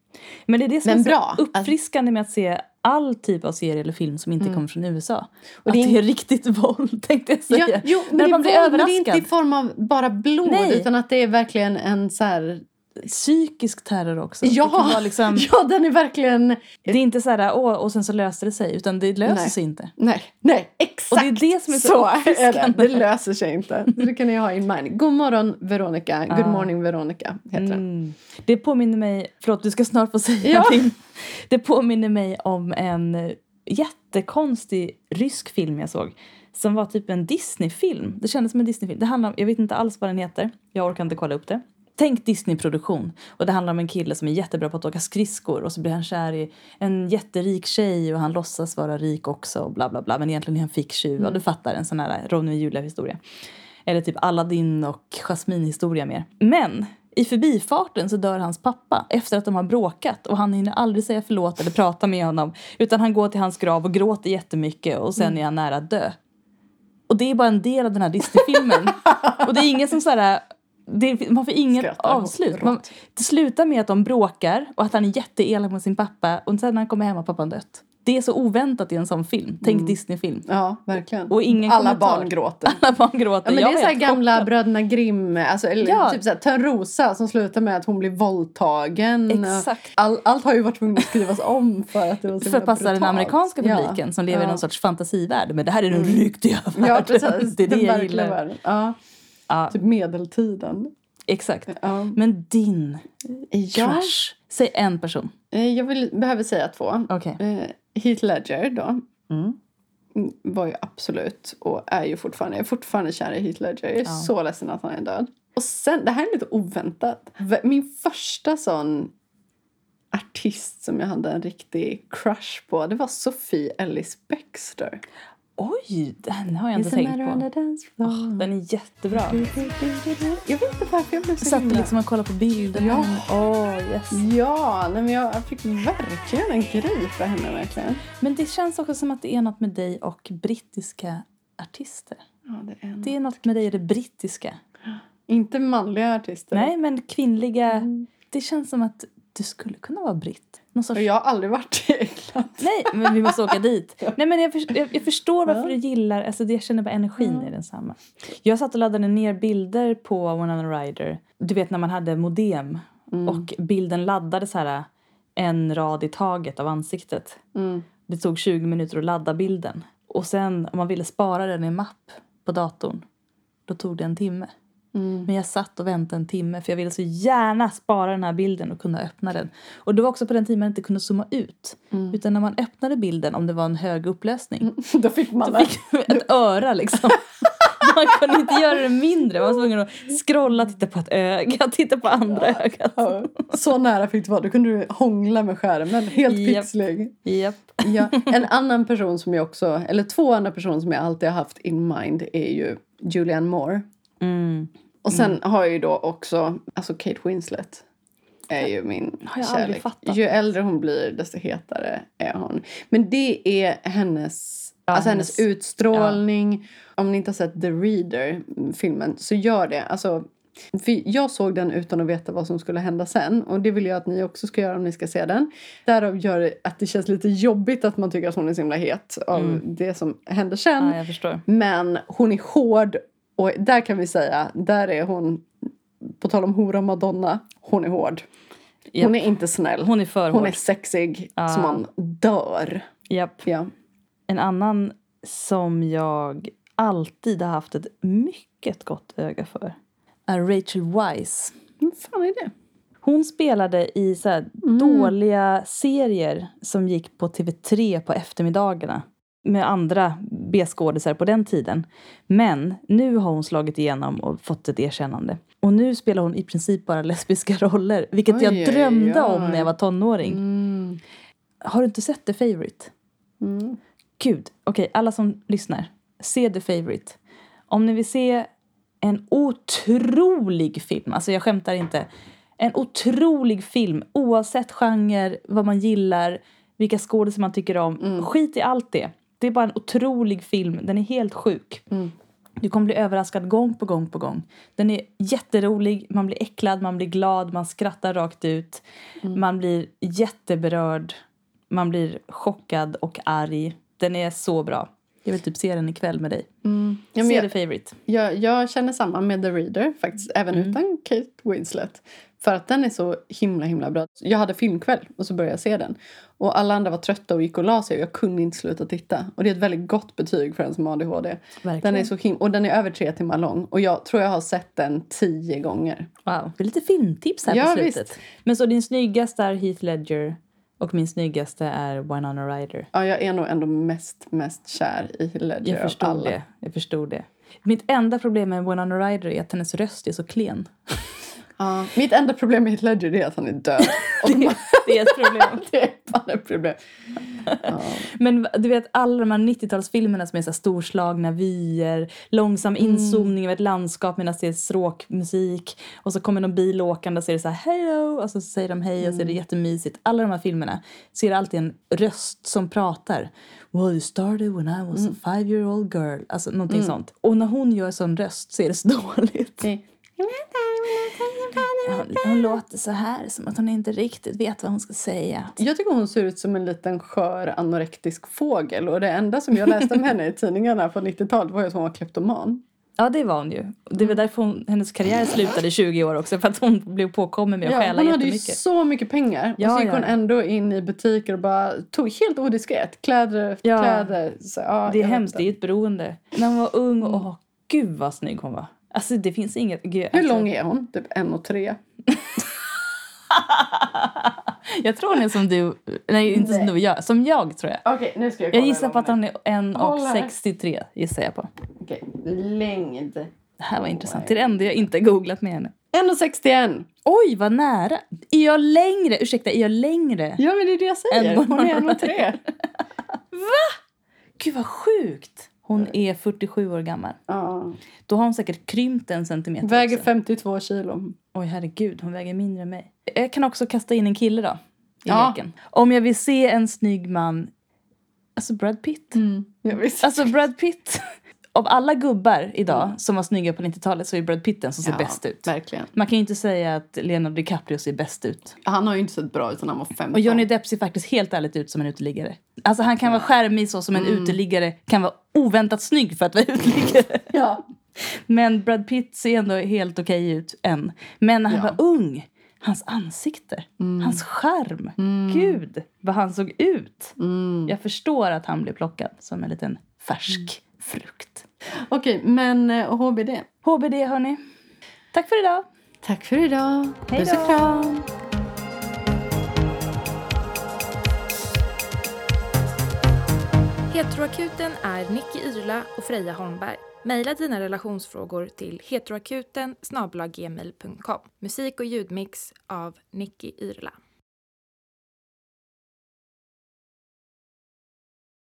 Men det är det som
Men
är så
bra. Alltså-
uppfriskande med att se all typ av serie eller film som inte kommer från USA. Och att
Mm. det
det
är
är, riktigt våld [laughs] tänkte jag säga.
Ja, jo, men,
När
det
man blir
är våld, men det är inte i
överraskad.
form av bara blod
Nej. Mm.
utan att det är verkligen en så här...
Psykisk terror också. Det, kan
Ja,
vara liksom,
[laughs] ja, den är verkligen...
det är inte så här åh, och sen så löser det sig. Utan det löser
Nej.
sig inte.
Nej, nej, exakt
Och det är
[laughs]
det som är så,
är det.
uppfriskande.
det löser sig inte. Så det kan ni ha in mind. God morgon Veronica, good
Ah.
morning Veronica heter den.
Mm. Det påminner mig, förlåt du ska snart få säga
Ja.
[laughs] någonting. Det påminner mig om en eh, jättekonstig rysk film jag såg. Som var typ en Disney-film. Det kändes som en Disney-film. Det handlar om, jag vet inte alls vad den heter. Jag orkar inte kolla upp det. Tänk Disney-produktion. Och det handlar om en kille som är jättebra på att åka skridskor och så blir han kär i en jätterik tjej och han låtsas vara rik också och bla bla bla. Men egentligen är han ficktjuv. Och du Mm. fattar, en sån här Ronny och Julia-historia. Eller typ Aladdin och Jasmine-historia mer. Men i förbifarten så dör hans pappa efter att de har bråkat och han hinner aldrig säga förlåt eller prata med honom utan han går till hans grav och gråter jättemycket och
Mm.
sen är han nära att dö. Och det är bara en del av den
[laughs]
här Disney-filmen. och det är ingen som så här... Det, man får inget
Skrattar åt
avslut.
rått.
Man, det slutar med att de bråkar och att han är jätteelak mot sin pappa och sen när han kommer hem har pappan dött. Det är så oväntat i en sån film. Tänk Disney-film.
Ja, verkligen.
Och ingen
Mm. Alla
kommentar.
barn gråter.
Alla barn gråter.
Ja, men det
Jag
är så
var
här
helt
gamla
chockad.
Bröderna Grimm, alltså, eller
Ja.
typ så här, Törnrosa som slutar med att hon blir våldtagen.
Exakt.
All, allt har ju varit tvunget att skrivas om för att det var så himla
förpassar den
brutalt.
amerikanska
Ja.
publiken som lever i
Ja. Mm.
någon sorts fantasivärld. Men det här är den riktiga världen.
Ja, precis.
[laughs] Det är det
den
jag
verkliga
gillar.
världen. Ja,
Ja,
typ medeltiden.
exakt.
Ja.
Men din
Ja,
crush? Säg en person.
eh, jag vill, behöver säga två.
Okej.
Eh, Heath Ledger då.
Mm.
Var ju absolut och är ju fortfarande, jag är fortfarande kär i Heath Ledger. Jag är
Ja.
så ledsen att han är död. Och sen, det här är lite oväntat. V- Min första sån artist som jag hade en riktig crush på det var Sophie Ellis Bextor.
Oj, den har jag inte tänkt på. Åh,
på.
den är jättebra.
Jag vet inte varför jag blev så
Satt
himla...
liksom och kollade på bilden.
Ja. Mm.
Åh, yes.
Ja, nej men jag fick verkligen en grej för henne verkligen.
Men det känns också som att det är något med dig och brittiska artister.
Ja, det är en...
Det är något med dig i det
Mm.
brittiska.
Inte manliga artister.
Nej, men kvinnliga.
Mm.
Det känns som att du skulle kunna vara britt. Någon sorts
Och jag har aldrig varit i England.
[laughs] Nej, men vi måste åka dit. Nej, men jag, för, jag, jag förstår varför du gillar, alltså det- jag känner bara energin i densamma. Jag satt och laddade ner bilder på One Rider. Du vet när man hade modem och bilden laddades så här en rad i taget av ansiktet. Det tog 20 minuter att ladda bilden. Och sen om man ville spara den i en mapp på datorn, då tog det en timme.
Mm.
Men jag satt och väntade en timme för jag ville så gärna spara den här bilden och kunna öppna den. Och det var också på den tiden man inte kunde zooma ut.
Mm.
Utan när man öppnade bilden, om det var en hög upplösning,
[laughs] Då fick man
då fick man
[laughs]
ett öra liksom. [laughs] Man kunde inte göra det mindre. Man var tvungen att scrolla, titta på ett öga, titta på andra ögat.
Ja, Så nära fick du vara. Då kunde du hångla med skärmen. Helt
Japp.
pixlig.
Japp.
Ja.
[laughs]
En annan person som jag också, eller två andra personer som jag alltid har haft in mind är ju Julianne Moore.
Mm.
Och sen har jag ju då också, alltså Kate Winslet är ju min
Har jag aldrig
kärlek.
fattat.
Ju äldre hon blir desto hetare är hon. Men det är hennes,
Ja,
alltså hennes,
hennes-
utstrålning. Om ni inte har sett The Reader, mm, filmen, så gör det. Alltså, för jag såg den utan att veta vad som skulle hända sen. Och det vill jag att ni också ska göra om ni ska se den. Därav gör det att det känns lite jobbigt att man tycker att hon är så himla het av det som händer sen.
Mm. Ja, jag förstår.
Men hon är hård och där kan vi säga, där är hon, på tal om hora Madonna, hon är hård. Hon
Japp.
är inte snäll.
Hon är för
Hon
hård.
är sexig
Ja.
så man dör.
Japp.
Ja.
En annan som jag alltid har haft ett mycket gott öga för är Rachel Weisz.
Vad fan är det?
Hon spelade i så här dåliga serier som gick på TV3 på eftermiddagarna med andra B-skådisar på den tiden. Men nu har hon slagit igenom och fått ett erkännande. Och nu spelar hon i princip bara [laughs] lesbiska roller, vilket
Oj, oj,
jag drömde
oj.
om när jag var tonåring. Mm. Har du inte sett The Favourite? Gud, okej, alla som lyssnar. Se The Favourite. Om ni vill se en otrolig film, alltså jag skämtar inte. En otrolig film, oavsett genre, vad man gillar, vilka skådespelare man tycker om. Skit i allt det. Det är bara en otrolig film, den är helt sjuk. Du kommer bli överraskad gång på gång på gång. Den är jätterolig, man blir
Mm.
äcklad, man blir glad, man skrattar rakt ut. Man blir jätteberörd. Man blir chockad och arg. Den är så bra. Jag vill typ se den ikväll med dig.
Ja, men
se
jag-
The Favourite.
Jag, jag känner samma med The Reader, faktiskt, även
Mm.
utan Kate Winslet. För att den är så himla himla bra. Jag hade filmkväll och så började jag se den. Och alla andra var trötta och gick och la sig och jag kunde inte sluta titta. Och det är ett väldigt gott betyg för en som har ADHD. Den är så him- och den är över tre timmar lång. Och jag tror jag har sett den tio gånger.
Wow. Det är lite filmtips här
Ja,
på slutet.
visst.
Men så din snyggaste är Heath Ledger och min snyggaste är Winona Ryder.
Ja, jag är nog ändå mest, mest kär i Heath Ledger
Jag
av
förstod
alla.
det. Jag förstod det. Mitt enda problem med Winona Ryder är att hennes röst är så klen.
Ja. Mitt enda problem med Heath Ledger är att han är
[laughs]
död. Och [laughs] man,
Det är ett problem.
det är fan ett problem.
Men du vet alla de här 90-talsfilmerna som är så här storslagna vyer, långsam inzoomning av ett landskap medan det är stråkmusik och så kommer någon bil åkande och så är det så här hello och så säger de hej och så är det jättemysigt. Alla de här filmerna ser alltid en röst som pratar. Well you started when I was a five year old girl. Alltså någonting sånt. Och när hon gör sån röst så är det så [laughs] dåligt. Hon, hon låter så här som att hon inte riktigt vet vad hon ska säga.
Jag tycker hon ser ut som en liten skör anorektisk fågel. Och det enda som jag läste om henne i tidningarna på 90-talet var ju att hon var kleptoman.
Ja, det var hon ju. Det
Mm.
var därför hon, hennes karriär slutade i 20 år också. För att hon blev påkommen med att
Ja,
stjäla
hon hade ju
jättemycket.
så mycket pengar. och
Ja,
så gick
ja,
hon
ja.
ändå in i butiker och bara tog helt odiskret kläder.
Ja.
kläder. Så, ja,
Det är
jag vet
hemskt, det
inte.
är ett beroende. När hon var ung, och åh, gud vad snygg hon var. Alltså det finns inget... Gud,
Hur
alltså,
lång är hon? Typ en och tre.
Jag tror hon är som du, nej inte som du och jag, som jag tror jag.
Okej, nu ska
Jag gissar på att hon är
Kolla här.
1,63 gissar jag på.
Okej, längd.
Det
Oh
här var intressant. Det är det enda jag inte googlat med henne.
1,61!
Oj, vad nära! Är jag längre? Ursäkta, är jag längre?
Ja, men det är det jag säger.
En och-
Hon är en och tre.
Gud vad sjukt! Hon är 47 år gammal.
[laughs] Ja.
Då har hon säkert krympt en centimeter
Väger
också.
52 kilo.
Oj, herregud, hon väger mindre än mig. Jag kan också kasta in en kille då, i
Ja.
leken. Om jag vill se en snygg man, alltså Brad Pitt.
Mm. Jag visste.
Alltså Brad Pitt. [laughs] Av alla gubbar idag som var snygga på 90-talet så är Brad Pitt den som ser
Mm. Ja,
bäst ut.
Verkligen.
Man kan ju inte säga att Leonardo DiCaprio ser bäst ut.
Han har ju inte sett bra ut sen han var 15.
Och Johnny Depp ser faktiskt helt ärligt ut som en uteliggare. Alltså han kan vara skärmig så som en
Mm.
uteliggare kan vara oväntat snygg för att vara [laughs] uteliggare.
Ja.
Men Brad Pitt ser ändå helt okej ut än. Men när han var ung, hans ansikte, hans skärm. Gud, vad han såg ut. Jag förstår att han blev plockad som en liten färsk frukt.
Okej, men eh, HBD.
HBD, hörni. Tack för idag.
Tack för idag.
Hej
Puss och
då.
kram.
Heteroakuten är Nicky Irla och Freja Holmberg. Maila dina relationsfrågor till heteroakuten snabel-a gmail punkt com. Musik och ljudmix av Nicky Irla.